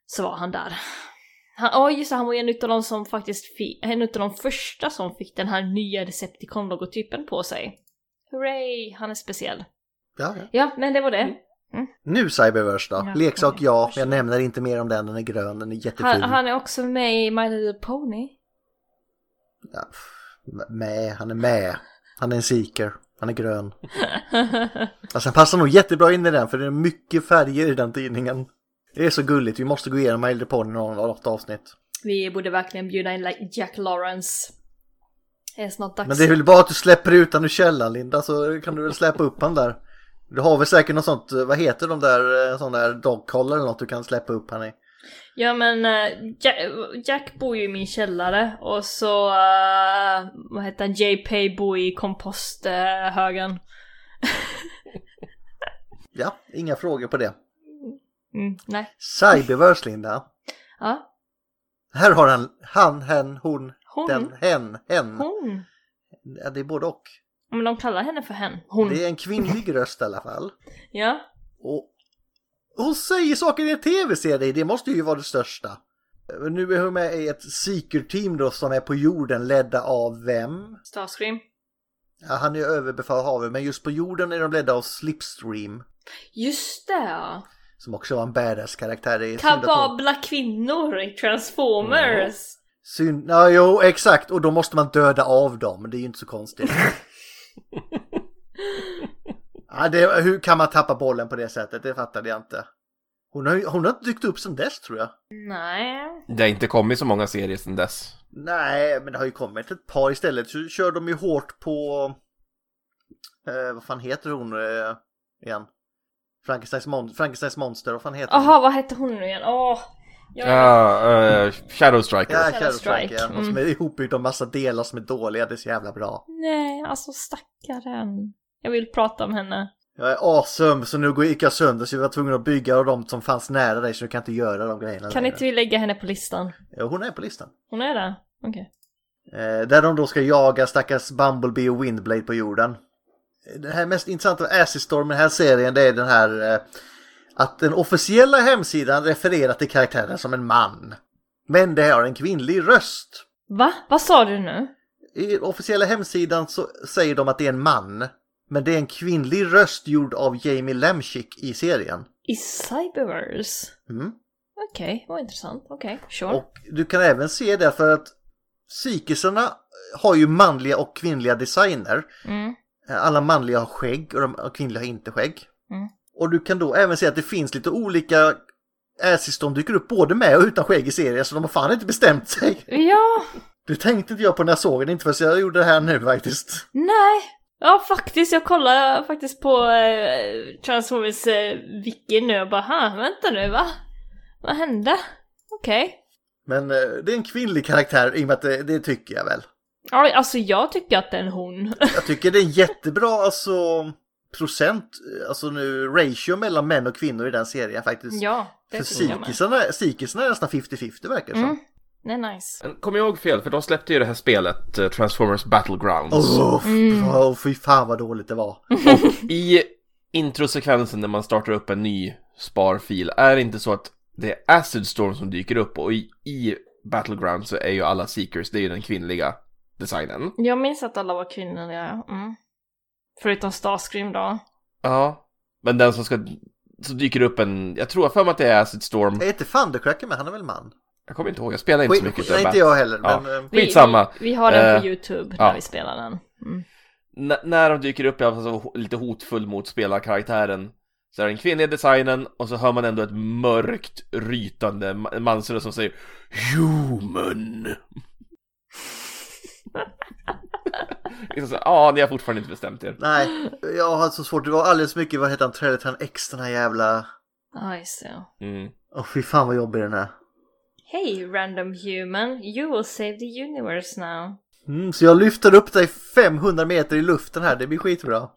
så var han där. Han, oh just det, han var ju en utav de som faktiskt fick, en utav de första som fick den här nya Decepticon-logotypen på sig. Hurray, han är speciell.
Ja, ja.
Ja, men det var det.
Nu Cyberverse då.
Ja,
Leksak
okej.
ja, men jag nämner inte mer om den. Den är grön, den är jätteful.
Han, han är också med i My Little Pony.
Ja, pff, m- med, han är med. Han är en seeker. Han är grön. Alltså han passar nog jättebra in i den för det är mycket färger i den tidningen. Det är så gulligt, vi måste gå igenom My Little Pony någon- något avsnitt.
Vi borde verkligen bjuda in like, Jack Lawrence. Det är snart dags.
Men det är väl bara att du släpper ut han ur källaren Linda så kan du väl släppa upp han där. Du har väl säkert något sånt, vad heter de där, eh, sån där dogcollar eller något du kan släppa upp han i.
Ja men Jack, Jack bor ju i min källare och så, eh, vad heter han, JP bor i komposthögen.
Ja, inga frågor på det.
mm, nej.
Cyberverse Linda.
Ja.
Här har han, han, hen, hon,
Hon.
den, hen, hen.
Hon.
Ja, det är både och.
Ja, Men de kallar henne för hen. Hon.
Det är en kvinnlig röst i alla fall.
Ja.
Och hon säger saker i en tv-serie, det måste ju vara det största. Nu är hon med i ett Seeker-team då som är på jorden ledda av vem?
Starscream.
Ja, han är ju överbefälhavare, men just på jorden är de ledda av Slipstream.
Just det ja.
Som också var en badass-karaktär. Det är synd att hon-
Kapabla kvinnor i Transformers.
Synd... Ja, jo, exakt. Och då måste man döda av dem. Det är ju inte så konstigt. ja, det... Hur kan man tappa bollen på det sättet? Det fattade jag inte. Hon har, ju- hon har inte dykt upp sedan dess tror jag.
Nej.
Det har inte kommit så många serier sedan dess.
Nej, men det har ju kommit ett par istället. Så kör de ju hårt på... Eh, vad fan heter hon eh, igen? Frankensteins, mon- Frankensteins monster, vad fan heter hon?
Jaha, vad hette hon nu igen? Åh. Jag är
Ja, eh, Shadow Striker.
Ja,
Shadow
Shadow
Strike.
Strike. ja.
Mm.
Som är ihopbyggd av massa delar som är dåliga, det är så jävla bra.
Nej, alltså stackaren. Jag vill prata om henne.
Jag är asöm, så nu går- gick jag sönder så vi var tvungna att bygga av de som fanns nära dig så du kan inte göra de grejerna
Kan
längre.
inte vi lägga henne på listan?
Jo, hon är på listan.
Hon är där? Okej.
Eh, där de då ska jaga stackars Bumblebee och Windblade på jorden. Det här mest intressanta med Acid Storm i den här serien det är den här eh, att den officiella hemsidan refererar till karaktären som en man. Men det har en kvinnlig röst.
Va? Vad sa du nu?
I den officiella hemsidan så säger de att det är en man. Men det är en kvinnlig röst gjord av Jamie Lemchick i serien.
I Cyberverse?
Mm.
Okej, vad intressant. Okej, sure.
Och du kan även se det för att psykisarna har ju manliga och kvinnliga designer.
Mm.
Alla manliga har skägg och de och kvinnliga har inte skägg.
Mm.
Och du kan då även se att det finns lite olika Assis de dyker upp både med och utan skägg i serien så de har fan inte bestämt sig.
Ja,
Det tänkte inte jag på när jag såg det, inte förrän jag gjorde det här nu faktiskt.
nej. Ja, faktiskt. Jag kollar faktiskt på eh, Transformers eh, wiki nu och bara, "Ha, vänta nu, va? Vad hände? Okej.
Men eh, det är en kvinnlig karaktär i och med att det, det tycker jag väl.
Ja, Alltså, jag tycker att det är en hon.
Jag tycker det är en jättebra alltså procent, alltså nu ratio mellan män och kvinnor i den serien faktiskt.
ja,
För
det tycker jag med.
psykisarna, psykisarna är nästan 50-50 verkar det som.
Mm. Det är nice.
Men Kom Eh, jag ihåg fel, för de släppte ju det här spelet, eh, Transformers Battlegrounds.
Åh, f-
Mm.
åh, fy fan vad dåligt det var.
I introsekvensen när man startar upp en ny sparfil, är det inte så att det är Acid Storm som dyker upp och i, i Battlegrounds så är ju alla Seekers, det är ju den kvinnliga designen.
Jag minns att alla var kvinnliga, ja. Mm. Förutom Starscream då.
Ja. Men den som ska... Så dyker det upp en... Jag tror för mig att det är Acid Storm.
Är inte Thundercracker med? Han är väl man?
Jag kommer inte ihåg, jag spelar inte så mycket.
Nej, inte jag heller. Men, eh,
Vi-
Skitsamma.
Vi, vi har den på
Eh,
YouTube
ja.
när vi spelar den. Mm.
N- när de dyker upp, alltså lite hotfull mot spelarkaraktären, så är det den kvinnliga designen och så hör man ändå ett mörkt rytande ma- mansröst som säger Human! Liksom så, Ja, ni har fortfarande inte bestämt er.
Nej, jag har så svårt. Det var alldeles mycket, vad heter han, Trelletan X, den här jävla...
Ja, just det.
Mm.
Åh fy fan vad jobbig den är.
Hey random human, you will save the universe now.
Mm, så jag lyfter upp dig 500 meter i luften här, det blir skitbra.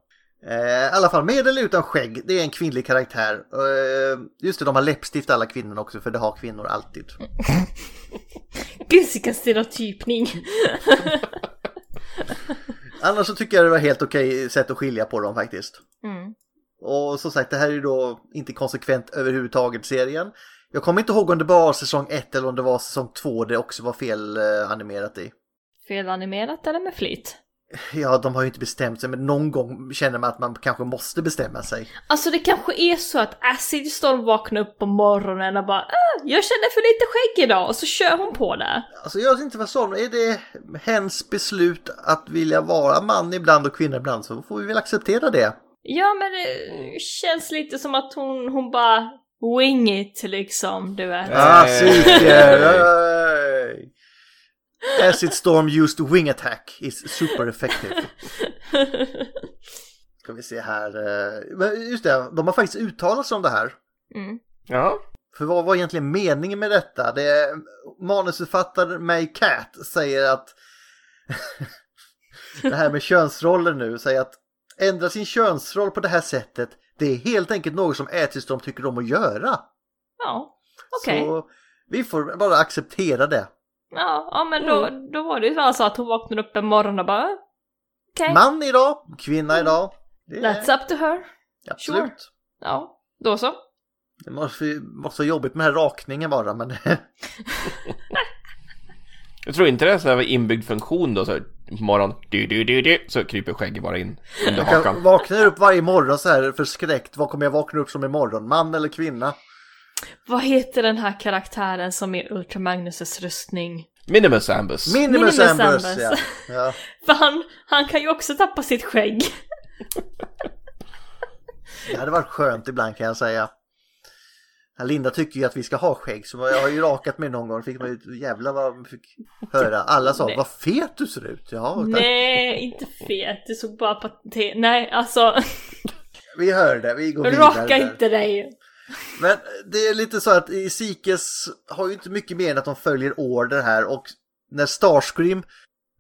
Eh, I alla fall, med eller utan skägg, det är en kvinnlig karaktär. Eh, just det, de har läppstift alla kvinnor också, för det har kvinnor alltid.
Gud vilken stereotypning!
Annars så tycker jag det var helt okej sätt att skilja på dem faktiskt.
Mm.
Och som sagt, det här är ju då inte konsekvent överhuvudtaget serien. Jag kommer inte ihåg om det var säsong 1 eller om det var säsong 2 det också var fel eh, animerat i.
Felanimerat eller med flit?
Ja, de har ju inte bestämt sig, men någon gång känner man att man kanske måste bestämma sig.
Alltså det kanske är så att Acid Storm vaknar upp på morgonen och bara ah, jag känner för lite skägg idag och så kör hon på det.
Alltså jag vet inte vad som, är det hens beslut att vilja vara man ibland och kvinna ibland så får vi väl acceptera det.
Ja men det känns lite som att hon, hon bara wing it liksom, du vet.
Ah, psyker! Hey. Acid Storm used wing attack is super effective. Ska vi se här. eh, Men just det, de har faktiskt uttalat sig om det här.
Mm.
Ja.
För vad var egentligen meningen med detta? Det är, manusförfattaren May Cat säger att det här med könsroller nu, säger att ändra sin könsroll på det här sättet, det är helt enkelt något som Ätestorm tycker om att göra.
Ja, okej.
Så vi får bara acceptera det.
Ja, ja men då,
Mm.
då var det ju bara så att hon vaknade upp en morgon och bara "Ah, okej,
Man idag, kvinna idag. Det
that's up to her.
absolut.
sure. Ja, då så.
Det måste, ju- måste vara jobbigt med den här rakningen bara, men
Jag tror inte det är så här inbyggd funktion då, så här, på morgonen, du, du, du, du, så kryper skägget bara in under
jag
hakan.
vaknar upp varje morgon så här förskräckt. Vad kommer jag vakna upp som imorgon? Man eller kvinna?
Vad heter den här karaktären som är Ultra Magnus rustning?
Minimus Ambus.
Minimus,
Minimus
Ambers, ja.
Ambers.
ja.
För han, han kan ju också tappa sitt skägg.
Det hade varit skönt ibland kan jag säga. Linda tycker ju att vi ska ha skägg, så jag har ju rakat mig någon gång. Fick man ju, jävlar vad man fick höra. Alla sa,
Nej.
vad fet du ser ut. Ja, tack.
Nej, inte fet. Du såg bara patetisk... Nej, alltså.
Vi hör det, vi går vidare.
Raka
där.
inte dig.
Men det är lite så att i Sikes har ju inte mycket mer än att de följer order här och när Starscream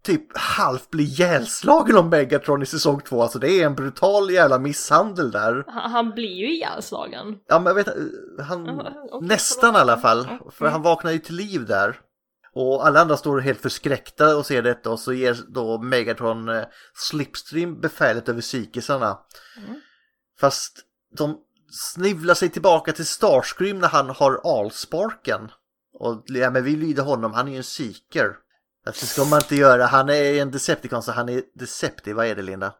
typ halvt blir ihjälslagen av Megatron i säsong 2, alltså det är en brutal jävla misshandel där.
Han, han blir ju ihjälslagen.
Ja men jag vet han
Ja, okej,
nästan i
förlåt.
alla fall,
Mm,
för han vaknar ju till liv där. Och alla andra står helt förskräckta och ser detta och så ger då Megatron eh, Slipstream befälet över psykisarna.
Mm.
Fast de snivlar sig tillbaka till Starscream när han har alsparken. Och ja, men vi lyder honom, han är ju en psyker. Alltså, Det ska man inte göra, han är en Decepticon så han är Deceptive, vad är det Linda?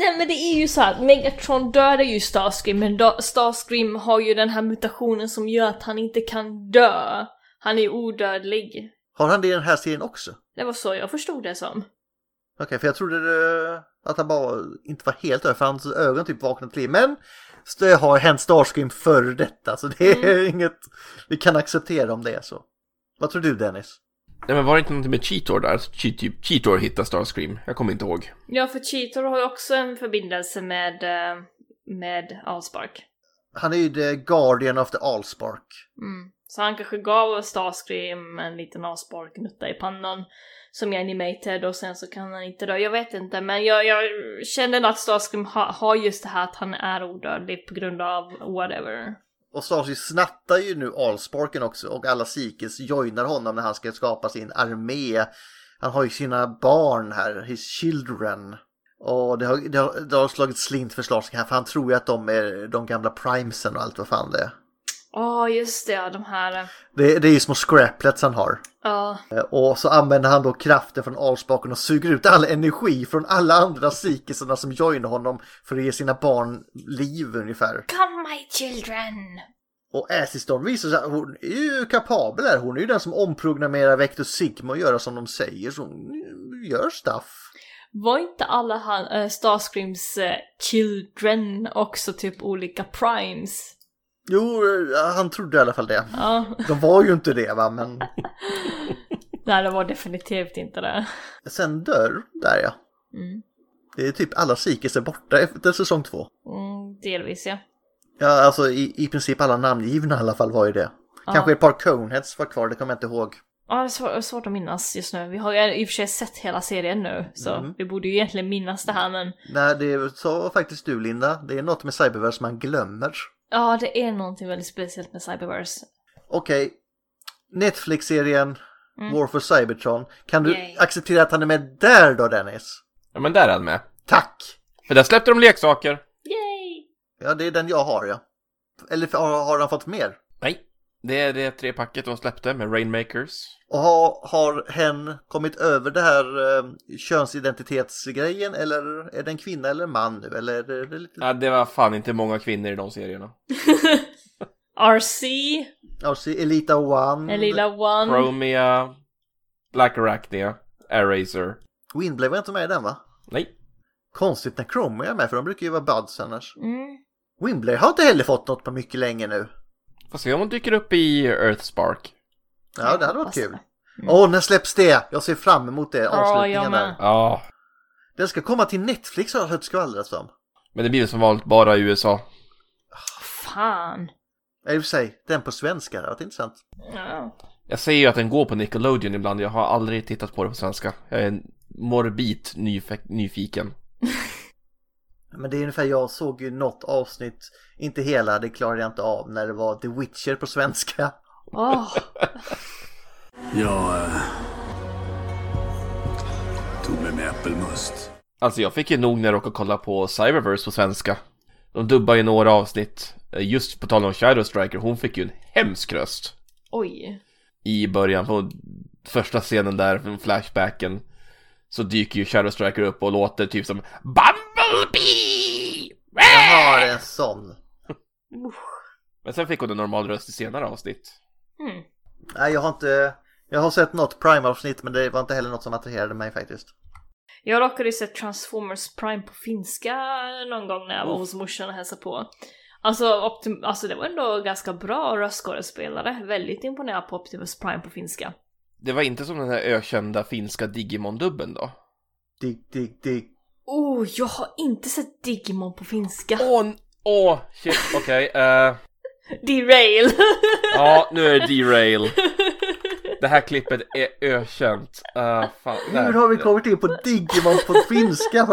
Nej men det är ju så att Megatron dödar ju Starscream men da- Starscream har ju den här mutationen som gör att han inte kan dö. Han är odödlig.
Har han det i den här serien också?
Det var så jag förstod det som.
Okej, för jag trodde det, att han bara inte var helt över, för hans ögon typ vaknade till. Men det har hänt Starscream före detta, så det är inget vi kan acceptera om det är så. Vad tror du Dennis?
Nej men var det inte någonting med Cheetor där? Cheat, typ, Cheetor hittar Starscream. Jag kommer inte ihåg.
Ja för Cheetor har ju också en förbindelse med, eh, med Allspark.
Han är ju the Guardian of the Allspark.
Mm. Så han kanske gav Starscream en liten avsparknutta i pannan som är animated och sen så kan han inte dö. Jag vet inte men jag, jag känner nog att Starscream ha, har just det här att han är odödlig på grund av whatever.
Och Starscream snattar ju nu Allsparken också och alla Sikes joinar honom när han ska skapa sin armé. Han har ju sina barn här, his children. Och det har, det har, det har slagit slint för Starscream här, för han tror ju att de är de gamla primesen och allt vad fan det är.
Åh, just det, ja, de här... eh,
Det, det är ju små scraplets han har.
Ja,
Eh, Och så använder han då kraften från alspaken och suger ut all energi från alla andra psykisarna som joinar honom för att ge sina barn liv ungefär.
Come my children!
Och Acid Storm visar sig, hon är ju kapabel här. Hon är ju den som omprogrammerar Vector Sigma och gör som de säger. Så hon gör stuff.
Var inte alla han, eh, Starscreams eh, children också typ olika primes?
Jo, eh, han trodde i alla fall det.
Ja,
De var ju inte det va, men
nej det var definitivt inte det.
sen dör där ja.
Mm.
Det är typ alla psykisar borta efter säsong två.
Mm, delvis ja.
Ja, alltså i, i princip alla namngivna i alla fall var ju det. Kanske ett par Coneheads var kvar, det kommer jag inte ihåg.
Ja, det är svår, svårt att minnas just nu. Vi har ju i och för sig sett hela serien nu, så
Mhm.
vi borde ju egentligen minnas det här men
Nej, det sa faktiskt du Linda. Det är något med Cyberverse man glömmer.
ja, det är någonting väldigt speciellt med Cyberverse.
Okej, Netflix-serien War for Cybertron. Kan du
Yay.
acceptera att han är med där då Dennis?
Ja, men där är han med.
Tack!
För där släppte de leksaker.
Yay!
Ja, det är den jag har ja. Eller har, har han fått mer?
Nej, det är det trepacket de släppte med Rainmakers.
Och har, har hen kommit över det här eh, könsidentitetsgrejen eller är det en kvinna eller en man nu? Eller är det, är det lite...
Ja, det var fan inte många kvinnor i de serierna.
RC,
Alltså Elita One,
Elila
Mm.
One.
Chromia, Black Arachnia, Eraser.
Windblade var inte med i den va?
Nej,
Konstigt när Chromia är med för de brukar ju vara buds annars.
Mm.
Windblade har inte heller fått något på mycket länge nu.
får se om hon dyker upp i Earthspark.
Ja, det hade varit
hoppas
kul.
det.
Åh, när släpps det? Jag ser fram emot det, avslutningen
jag med.
där.
Ja,
Den ska komma till Netflix har jag hört skvallras om.
men det blir väl som vanligt bara i USA.
Fan.
Ja, I och för sig, den på svenska, det hade varit intressant.
Ja.
Jag säger ju att den går på Nickelodeon ibland, jag har aldrig tittat på det på svenska. Jag är morbid nyf- nyfiken.
Men det är ungefär, jag såg ju något avsnitt, inte hela, det klarade jag inte av, när det var The Witcher på svenska.
Åh,
Jag eh, tog mig med äppelmust.
Alltså jag fick ju nog när jag råkade kolla på Cyberverse på svenska. De dubbar ju några avsnitt. Eh, Just på tal om Shadow Striker, hon fick ju en hemsk röst.
oj.
i början på första scenen där, från flashbacken, så dyker ju Shadow Striker upp och låter typ som Bumblebee!
Jag har en sån.
Men sen fick hon en normal röst i senare avsnitt.
Mm.
Nej, jag har inte... Jag har sett något Prime-avsnitt, men det var inte heller något som attraherade mig faktiskt.
Jag råkade ju se Transformers Prime på finska någon gång när jag var hos morsan och hälsade på. Alltså, Optim- alltså det var ändå ganska bra röstskådespelare. Väldigt imponerad på Optimus Prime på finska.
Det var inte som den här ökända finska Digimon-dubben då?
Dig, dig, dig.
Oh, jag har inte sett Digimon på finska.
Åh, n- åh, shit, okej. eh,
Derail!
ja, nu är det derail. Det här klippet är ökänt. Eh, fan,
Hur
där.
har vi kommit in på Digimon på finska?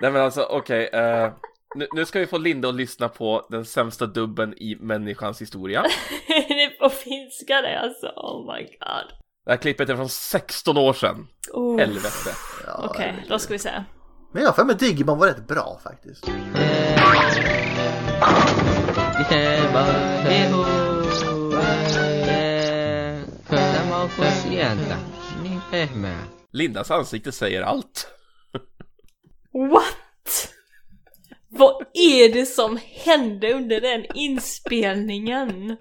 Nej men alltså okej, eh, nu, nu ska vi få Linda att lyssna på den sämsta dubben i människans historia.
det är på finska det alltså, oh my god.
Det här klippet är från 16 år sedan.
Oh.
Helvete.
Ja,
Okej, då ska vi se.
Men jag har för mig Digimon var rätt bra faktiskt.
Lindas ansikte säger allt.
What? Vad är det som hände under den inspelningen?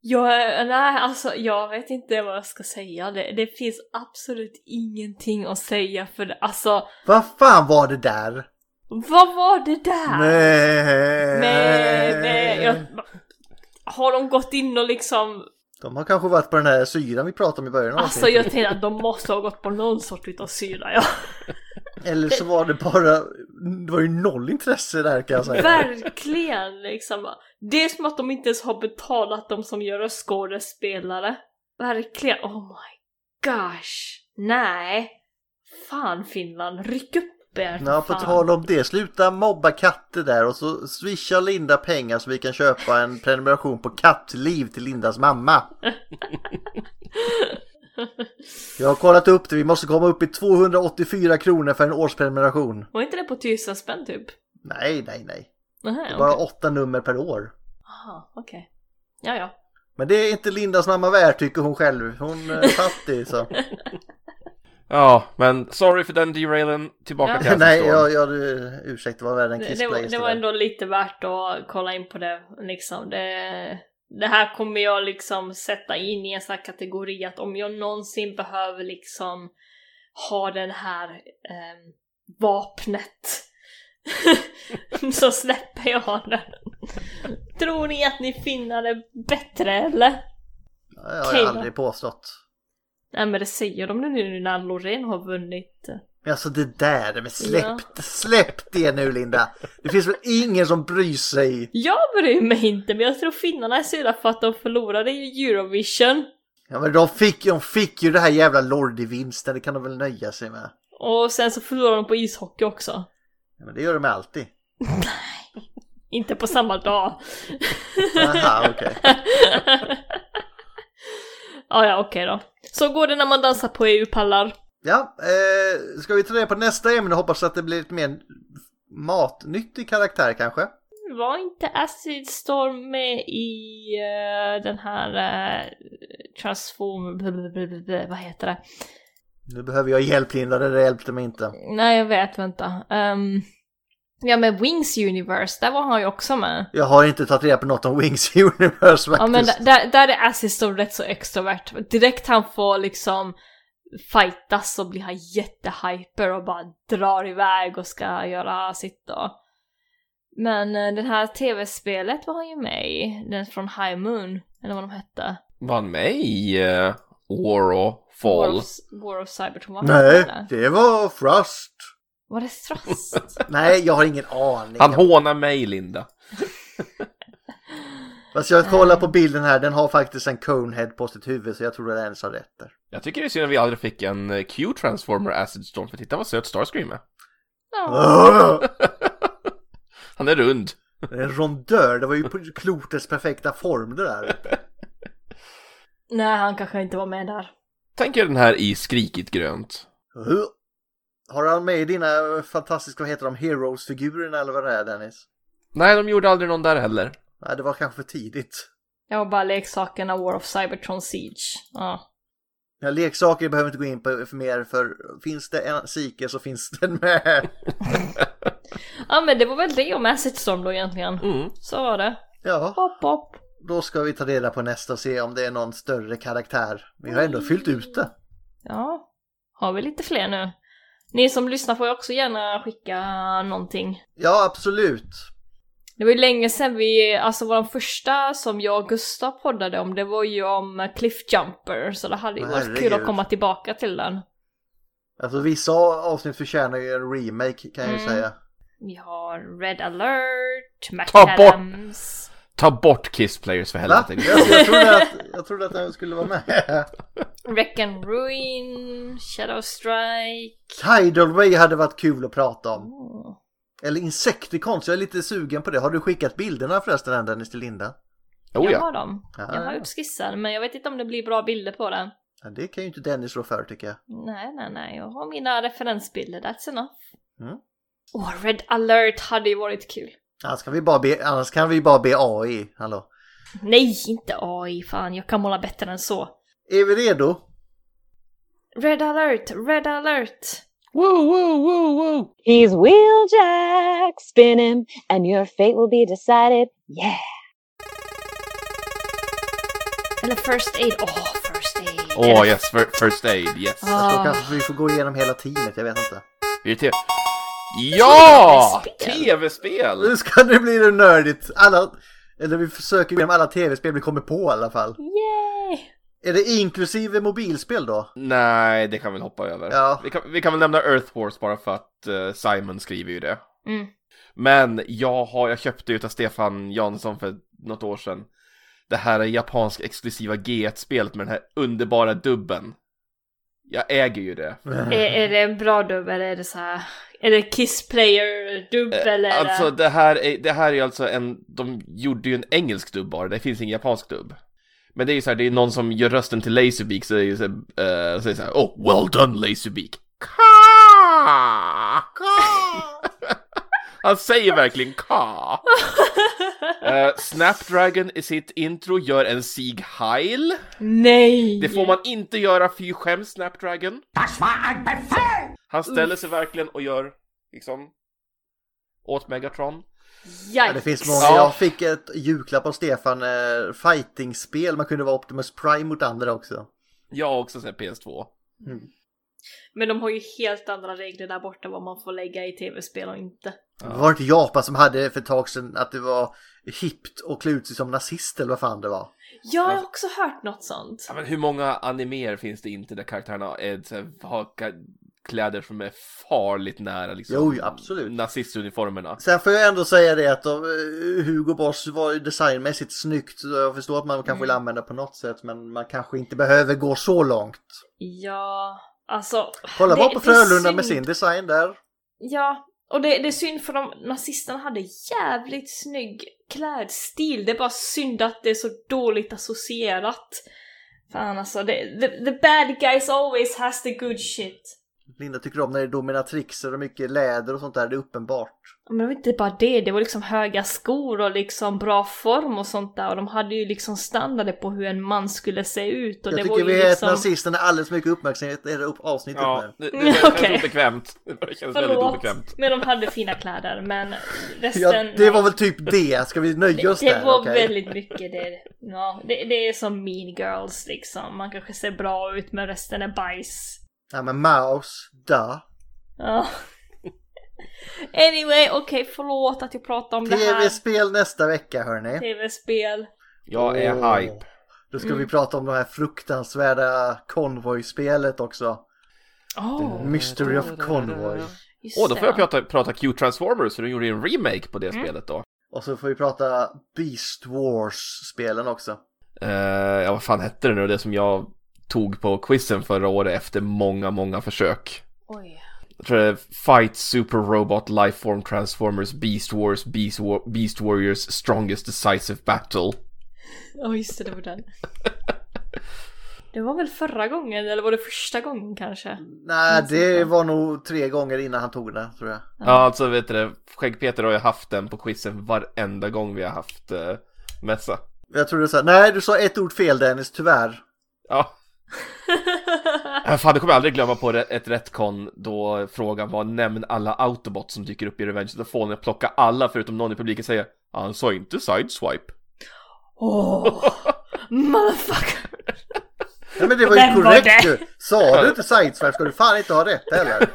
Jag, nej, alltså jag vet inte vad jag ska säga. Det, det finns absolut ingenting att säga för det. Alltså,
Vad fan var det där?
vad var det där?
Nej.
nej, nej, jag, Har de gått in och liksom...
De har kanske varit på den här syran vi pratade om i början av
Alltså
avsnittet.
jag tänkte att de måste ha gått på någon sort utav syra, ja.
Eller så var det bara... Det var ju noll intresse där kan jag säga.
Verkligen liksom. Det är som att de inte ens har betalat de som gör skådespelare. Verkligen. Oh my gosh. Nej. Fan Finland, ryck upp er. för
Ja, på
fan.
tal om det. Sluta mobba katter där och så swisha Linda pengar så vi kan köpa en prenumeration på Kattliv till Lindas mamma. Jag har kollat upp det. Vi måste komma upp i 284 kronor för en årsprenumeration.
Var inte det på tusen spänn typ?
Nej, nej, nej.
Nähä,
Bara
okej.
åtta nummer per år.
Aha, okej. Ja, ja.
Men det är inte Lindas mamma värd tycker hon själv. Hon är fattig så.
Ja, men sorry för den derailen. Tillbaka till
Nej,
Astronaut.
jag, jag, ursäkta, vad värre än
Det,
Kiss
det, var,
Players
det var ändå lite värt att kolla in på det liksom. Det, det här kommer jag liksom sätta in i en sån här kategori att om jag någonsin behöver liksom ha den här ehm, vapnet så släpper jag den. Tror ni att ni finner det bättre eller?
Ja, Jag har
Okej
jag
då.
aldrig påstått.
Nej men det säger de nu när Loreen har vunnit.
Men alltså det där, men släpp,
Ja.
släpp det nu Linda. Det finns väl ingen som bryr sig.
Jag bryr mig inte men jag tror finnarna är sura för att de förlorade i Eurovision.
Ja men de fick, de fick ju det här jävla Lordi-vinsten, det kan de väl nöja sig med.
Och sen så förlorar de på ishockey också.
Ja, men det gör de alltid.
Inte på samma dag.
Aha, okej.
ah, ja, okej då. Så går det när man dansar på EU-pallar.
Ja, eh, ska vi ta reda på nästa ämne och hoppas att det blir lite mer matnyttig karaktär kanske?
Var inte Acid Storm med i eh, den här eh, Transform... blablabla, Vad heter det?
Nu behöver jag hjälp Linda, det där hjälpte mig inte.
Nej, jag vet, vänta. Ehm, ja, men Wings Universe, där var han ju också med.
Jag har inte tagit reda på något om Wings Universe faktiskt.
Ja men där- där, där är Acid Storm rätt så extrovert. Direkt han får liksom fightas så blir han jättehyper och bara drar iväg och ska göra sitt då. Men eh, det här tv-spelet var han ju med i, den från High Moon, eller vad de hette.
Var han med i uh, War of
War
Fall?
of, War of Cybertron, vad hette
Nej,
det?
det var Frust.
Var det Thrust?
Nej, jag har ingen aning.
Han hånar mig, Linda.
Fast jag kollar på bilden här, den har faktiskt en Conehead på sitt huvud så jag tror att den sa rätt där.
Jag tycker det är synd att vi aldrig fick en eh, Q-transformer Acid Storm, för titta vad söt Starscream är.
Ah!
Han är rund.
En rondör, det var ju på klotets perfekta form det där.
Nej, han kanske inte var med där.
Tänk er den här i Skrikigt grönt.
Huh. Har han med i dina fantastiska, vad heter de, Heroes-figurerna eller vad det är Dennis?
Nej, de gjorde aldrig någon där heller.
Nej, det var kanske för tidigt.
Jag var bara leksakerna War of Cybertron Siege. Ja.
Ja, leksaker behöver vi inte gå in på för mer för finns det en Sike så finns den med.
ja, men det var väl det om Acid Storm då egentligen. Så var det.
Ja,
Hopp, hopp.
då ska vi ta reda på nästa och se om det är någon större karaktär. Vi har ändå fyllt ut det.
Ja, har vi lite fler nu? Ni som lyssnar får ju också gärna skicka någonting.
Ja, absolut.
Det var ju länge sedan vi, alltså vår första som jag och Gustav poddade om, det var ju om Cliffjumper, så det hade ju varit kul att
Herregud.
komma tillbaka till den.
Alltså vissa avsnitt förtjänar ju en remake kan jag ju
Mm.
säga.
Vi har Red alert,
Ta bort-
McAdams.
Ta bort Kiss Players för
Va?
helvete.
Jag, jag, trodde att, jag trodde att den skulle vara med.
Wreck and Ruin, Shadow Strike. Mm.
Tidal Ray hade varit kul att prata om.
Åh.
Eller Insecticons, jag är lite sugen på det. Har du skickat bilderna förresten än Dennis till Linda?
Oh,
jag
ja.
har dem.
Ja,
Jag har
ja.
gjort skissen, men jag vet inte om det blir bra bilder på den.
Ja, det kan ju inte Dennis rå för tycker jag.
Nej, nej, nej. Jag har mina referensbilder. That's enough.
Mm.
Åh, Red alert hade ju varit kul.
Annars kan vi bara be, annars kan vi bara be AI. Hallå.
Nej, inte AI. Fan, jag kan måla bättre än så.
Är vi redo?
Red alert, red alert.
Woo, woo, woo, woo.
He's Wheeljack! Spin him, and your fate will be decided. Yeah!
Eller first aid. Åh, first aid.
Åh, oh, yes. fir- First aid, yes.
Ah.
Jag tror kanske vi får gå igenom hela teamet, jag vet inte.
Är det te- Ja!
TV-spel.
TV-spel!
Nu ska det bli det nördigt. Alla, eller vi försöker gå igenom alla tv-spel vi kommer på i alla fall.
Yay!
Är det inklusive mobilspel då?
Nej, det kan vi hoppa över.
Ja.
Vi, kan, vi kan väl nämna Earth Wars bara för att eh, Simon skriver ju det.
Mm.
Men jag har, jag köpte ju av Stefan Jansson för något år sedan det här japanska exklusiva G1-spelet med den här underbara dubben. Jag äger ju det.
Är, är det en bra dubb eller är det så här? Är det Kiss Player-dubb eller? eh, är det-
Alltså det här är, det här är alltså en, de gjorde ju en engelsk dubb bara, det finns ingen japansk dubb. Men det är ju så här, det är någon som gör rösten till Laserbeak så det är ju så här, eh, säger så här, oh well done Laserbeak. Ka! Ka! Han säger verkligen ka. Eh, Snapdragon i sitt intro gör en Sieg Heil.
Nej!
Det får man inte göra, fy skäms Snapdragon.
Das war ein Befehl!
Han ställer sig verkligen och gör, liksom, åt Megatron.
Ja, det finns många. Jag fick ett julklapp av Stefan, eh, fightingspel. Man kunde vara Optimus Prime mot andra också.
Jag har också sett PS2.
Men de har ju helt andra regler där borta vad man får lägga i tv-spel och inte.
Det var inte Japan som hade för ett tag sedan att det var hippt och klä ut sig som nazist eller vad fan det var.
Jag har också hört något sånt.
Ja, men hur många animer finns det inte där karaktärerna är, så här, har ka- kläder som är farligt nära liksom,
Jo, jo, absolut.
nazistuniformerna?
Sen får jag ändå säga det att de, eh, Hugo Boss var ju designmässigt snyggt. Så jag förstår att man kanske vill använda på något sätt men man kanske inte behöver gå så långt.
Ja, alltså.
Kolla
det-
bara på
det är
Frölunda med
synd.
sin design där.
Ja, och det, det är synd för de nazisterna hade jävligt snygg klädstil. Det är bara synd att det är så dåligt associerat. Fan alltså, det, the, the bad guys always has the good shit.
Linda tycker om när det är dominatrixer och mycket läder och sånt där, det är uppenbart.
Men det var inte bara det, det var liksom höga skor och liksom bra form och sånt där och de hade ju liksom standarder på hur en man skulle se ut och
jag
det var
tycker
ju
vi är
liksom...
nazisterna alldeles mycket uppmärksamhet i det här upp- avsnittet
Ja,
nu.
det, det, det känns
Okej.
obekvämt. Det känns väldigt
Förlåt,
obekvämt.
men de hade fina kläder men resten...
Ja, det var väl typ det, ska vi nöja oss
det
där?
var
Okej.
väldigt mycket det. Ja, det. Det är som mean girls liksom. Man kanske ser bra ut men resten är bajs.
Ja men Maus, da.
Ja. Anyway, okej förlåt att jag pratar om det här.
Tv-spel nästa vecka hörni.
TV-spel.
Jag är
Åh.
hype.
Då ska
Mm.
vi prata om det här fruktansvärda konvojspelet också.
Åh,
Mystery of Convoy.
Oh, just
Åh, då får jag
det.
prata, prata Q-Transformers, för de gjorde ju en remake på det
Mm.
spelet då.
Och så får vi prata Beast Wars-spelen också.
Eh, ja, vad fan hette det nu? Det som jag tog på quizen förra året efter många, många försök.
Oj.
Jag tror det är Fight Super Robot Lifeform Transformers Beast Wars Beast, War- Beast Warriors Strongest Decisive Battle.
Ja just det, det var den. Det var väl förra gången, eller var det första gången kanske?
Nej, det var nog tre gånger innan han tog det tror jag.
Ja, alltså vet du det, Skäggpeter har ju haft den på quizen varenda gång vi har haft eh, mässa.
Jag tror du sa, nej du sa ett ord fel Dennis, tyvärr.
Ja. Äh, Fan, det kommer jag aldrig glömma på re- ett retcon då frågan var nämn alla autobots som dyker upp i Revenge of the Fallen. Jag plockar alla förutom någon i publiken säger han sa inte sideswipe.
Åh, motherfucker!
Nej men det var ju
Vem var
korrekt
det?
ju. Sa du inte sideswipe ska du fan inte ha rätt heller.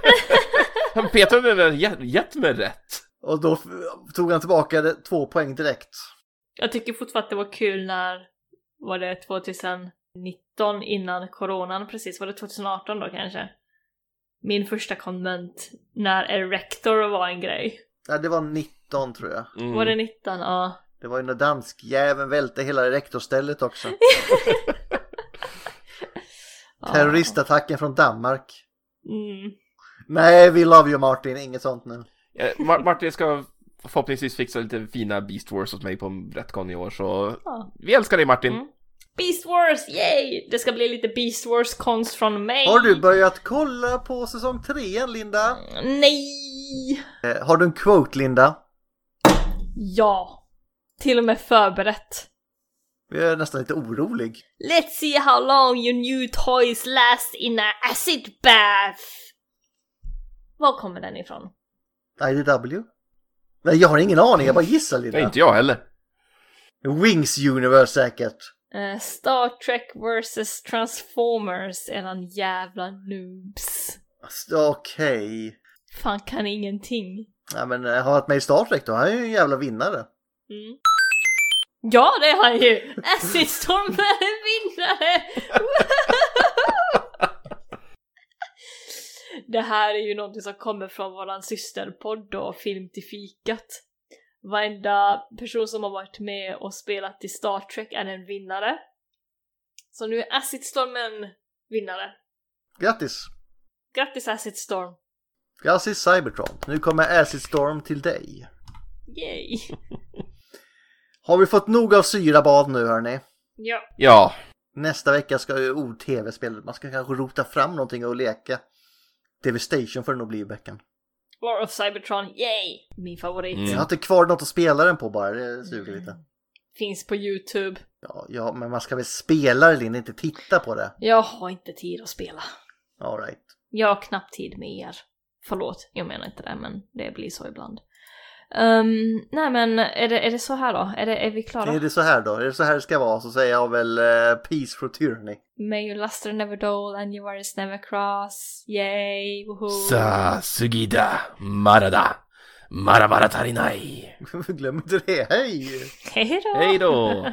Han Peter har väl ge- gett mig rätt.
Och då f- tog han tillbaka det, två poäng direkt.
Jag tycker fortfarande att det var kul när, var det 2019 innan coronan precis? Var det 2018 då kanske? Min första konvent när Erector var en grej.
Nej, det var 19 tror jag.
Mm.
Var det 19? Ja.
Det var ju när danskjäveln välte hela rektorstället också. Terroristattacken från Danmark.
Mm.
Nej, we love you Martin, inget sånt nu.
Eh, Mar- Martin ska förhoppningsvis fixa lite fina Beast Wars åt mig på en retcon i år så
Ja.
vi älskar dig Martin.
Mm. Beast Wars, yay! Det ska bli lite Beast Wars-konst från mig.
Har du börjat kolla på säsong 3 Linda?
Nej!
Eh, har du en quote Linda?
Ja! Till och med förberett.
Jag är nästan lite orolig.
Let's see how long your new toys last in a acid bath! Var kommer den ifrån?
IDW? Nej, jag har ingen aning, jag bara gissar
Nej,
Linda.
inte jag heller.
Wings Universe säkert.
Eh, Star Trek vs Transformers, eran jävla noobs.
Alltså, Okej.
Fan kan ingenting.
Ja, men eh, har varit med i Star Trek då, han är ju en jävla vinnare.
Mm. Ja, det är han ju! Acid Storm är en vinnare! det här är ju någonting som kommer från våran systerpodd då, Film till fikat. Varenda person som har varit med och spelat i Star Trek är en vinnare. Så nu är Acid Storm en vinnare.
Grattis!
Grattis Acid Storm!
Grattis Cybertron! Nu kommer Acid Storm till dig.
Yay!
Har vi fått nog av syrabad nu hörni?
Ja.
Ja,
Nästa vecka ska ju oh, tv-spelet, man ska kanske rota fram någonting och leka. Devastation får det nog bli i veckan.
War of Cybertron, yay! Min favorit.
Jag har inte kvar något att spela den på bara, det suger lite.
Finns på YouTube.
Ja, ja, men man ska väl spela det, Linda, inte titta på det.
Jag har inte tid att spela.
All right.
Jag har knappt tid med er. Förlåt, jag menar inte det, men det blir så ibland. Ehm, nej men, är det, är det så här då? Är, det, är vi klara?
Är det så här då? Är det så här det ska vara så säger jag väl eh, Peace for Tyranny.
May your luster never dull and your worries never cross. Yay, woho!
Sa sugida marada marabara tarinai.
Glöm inte det, hej!
Hej då!
Hej då!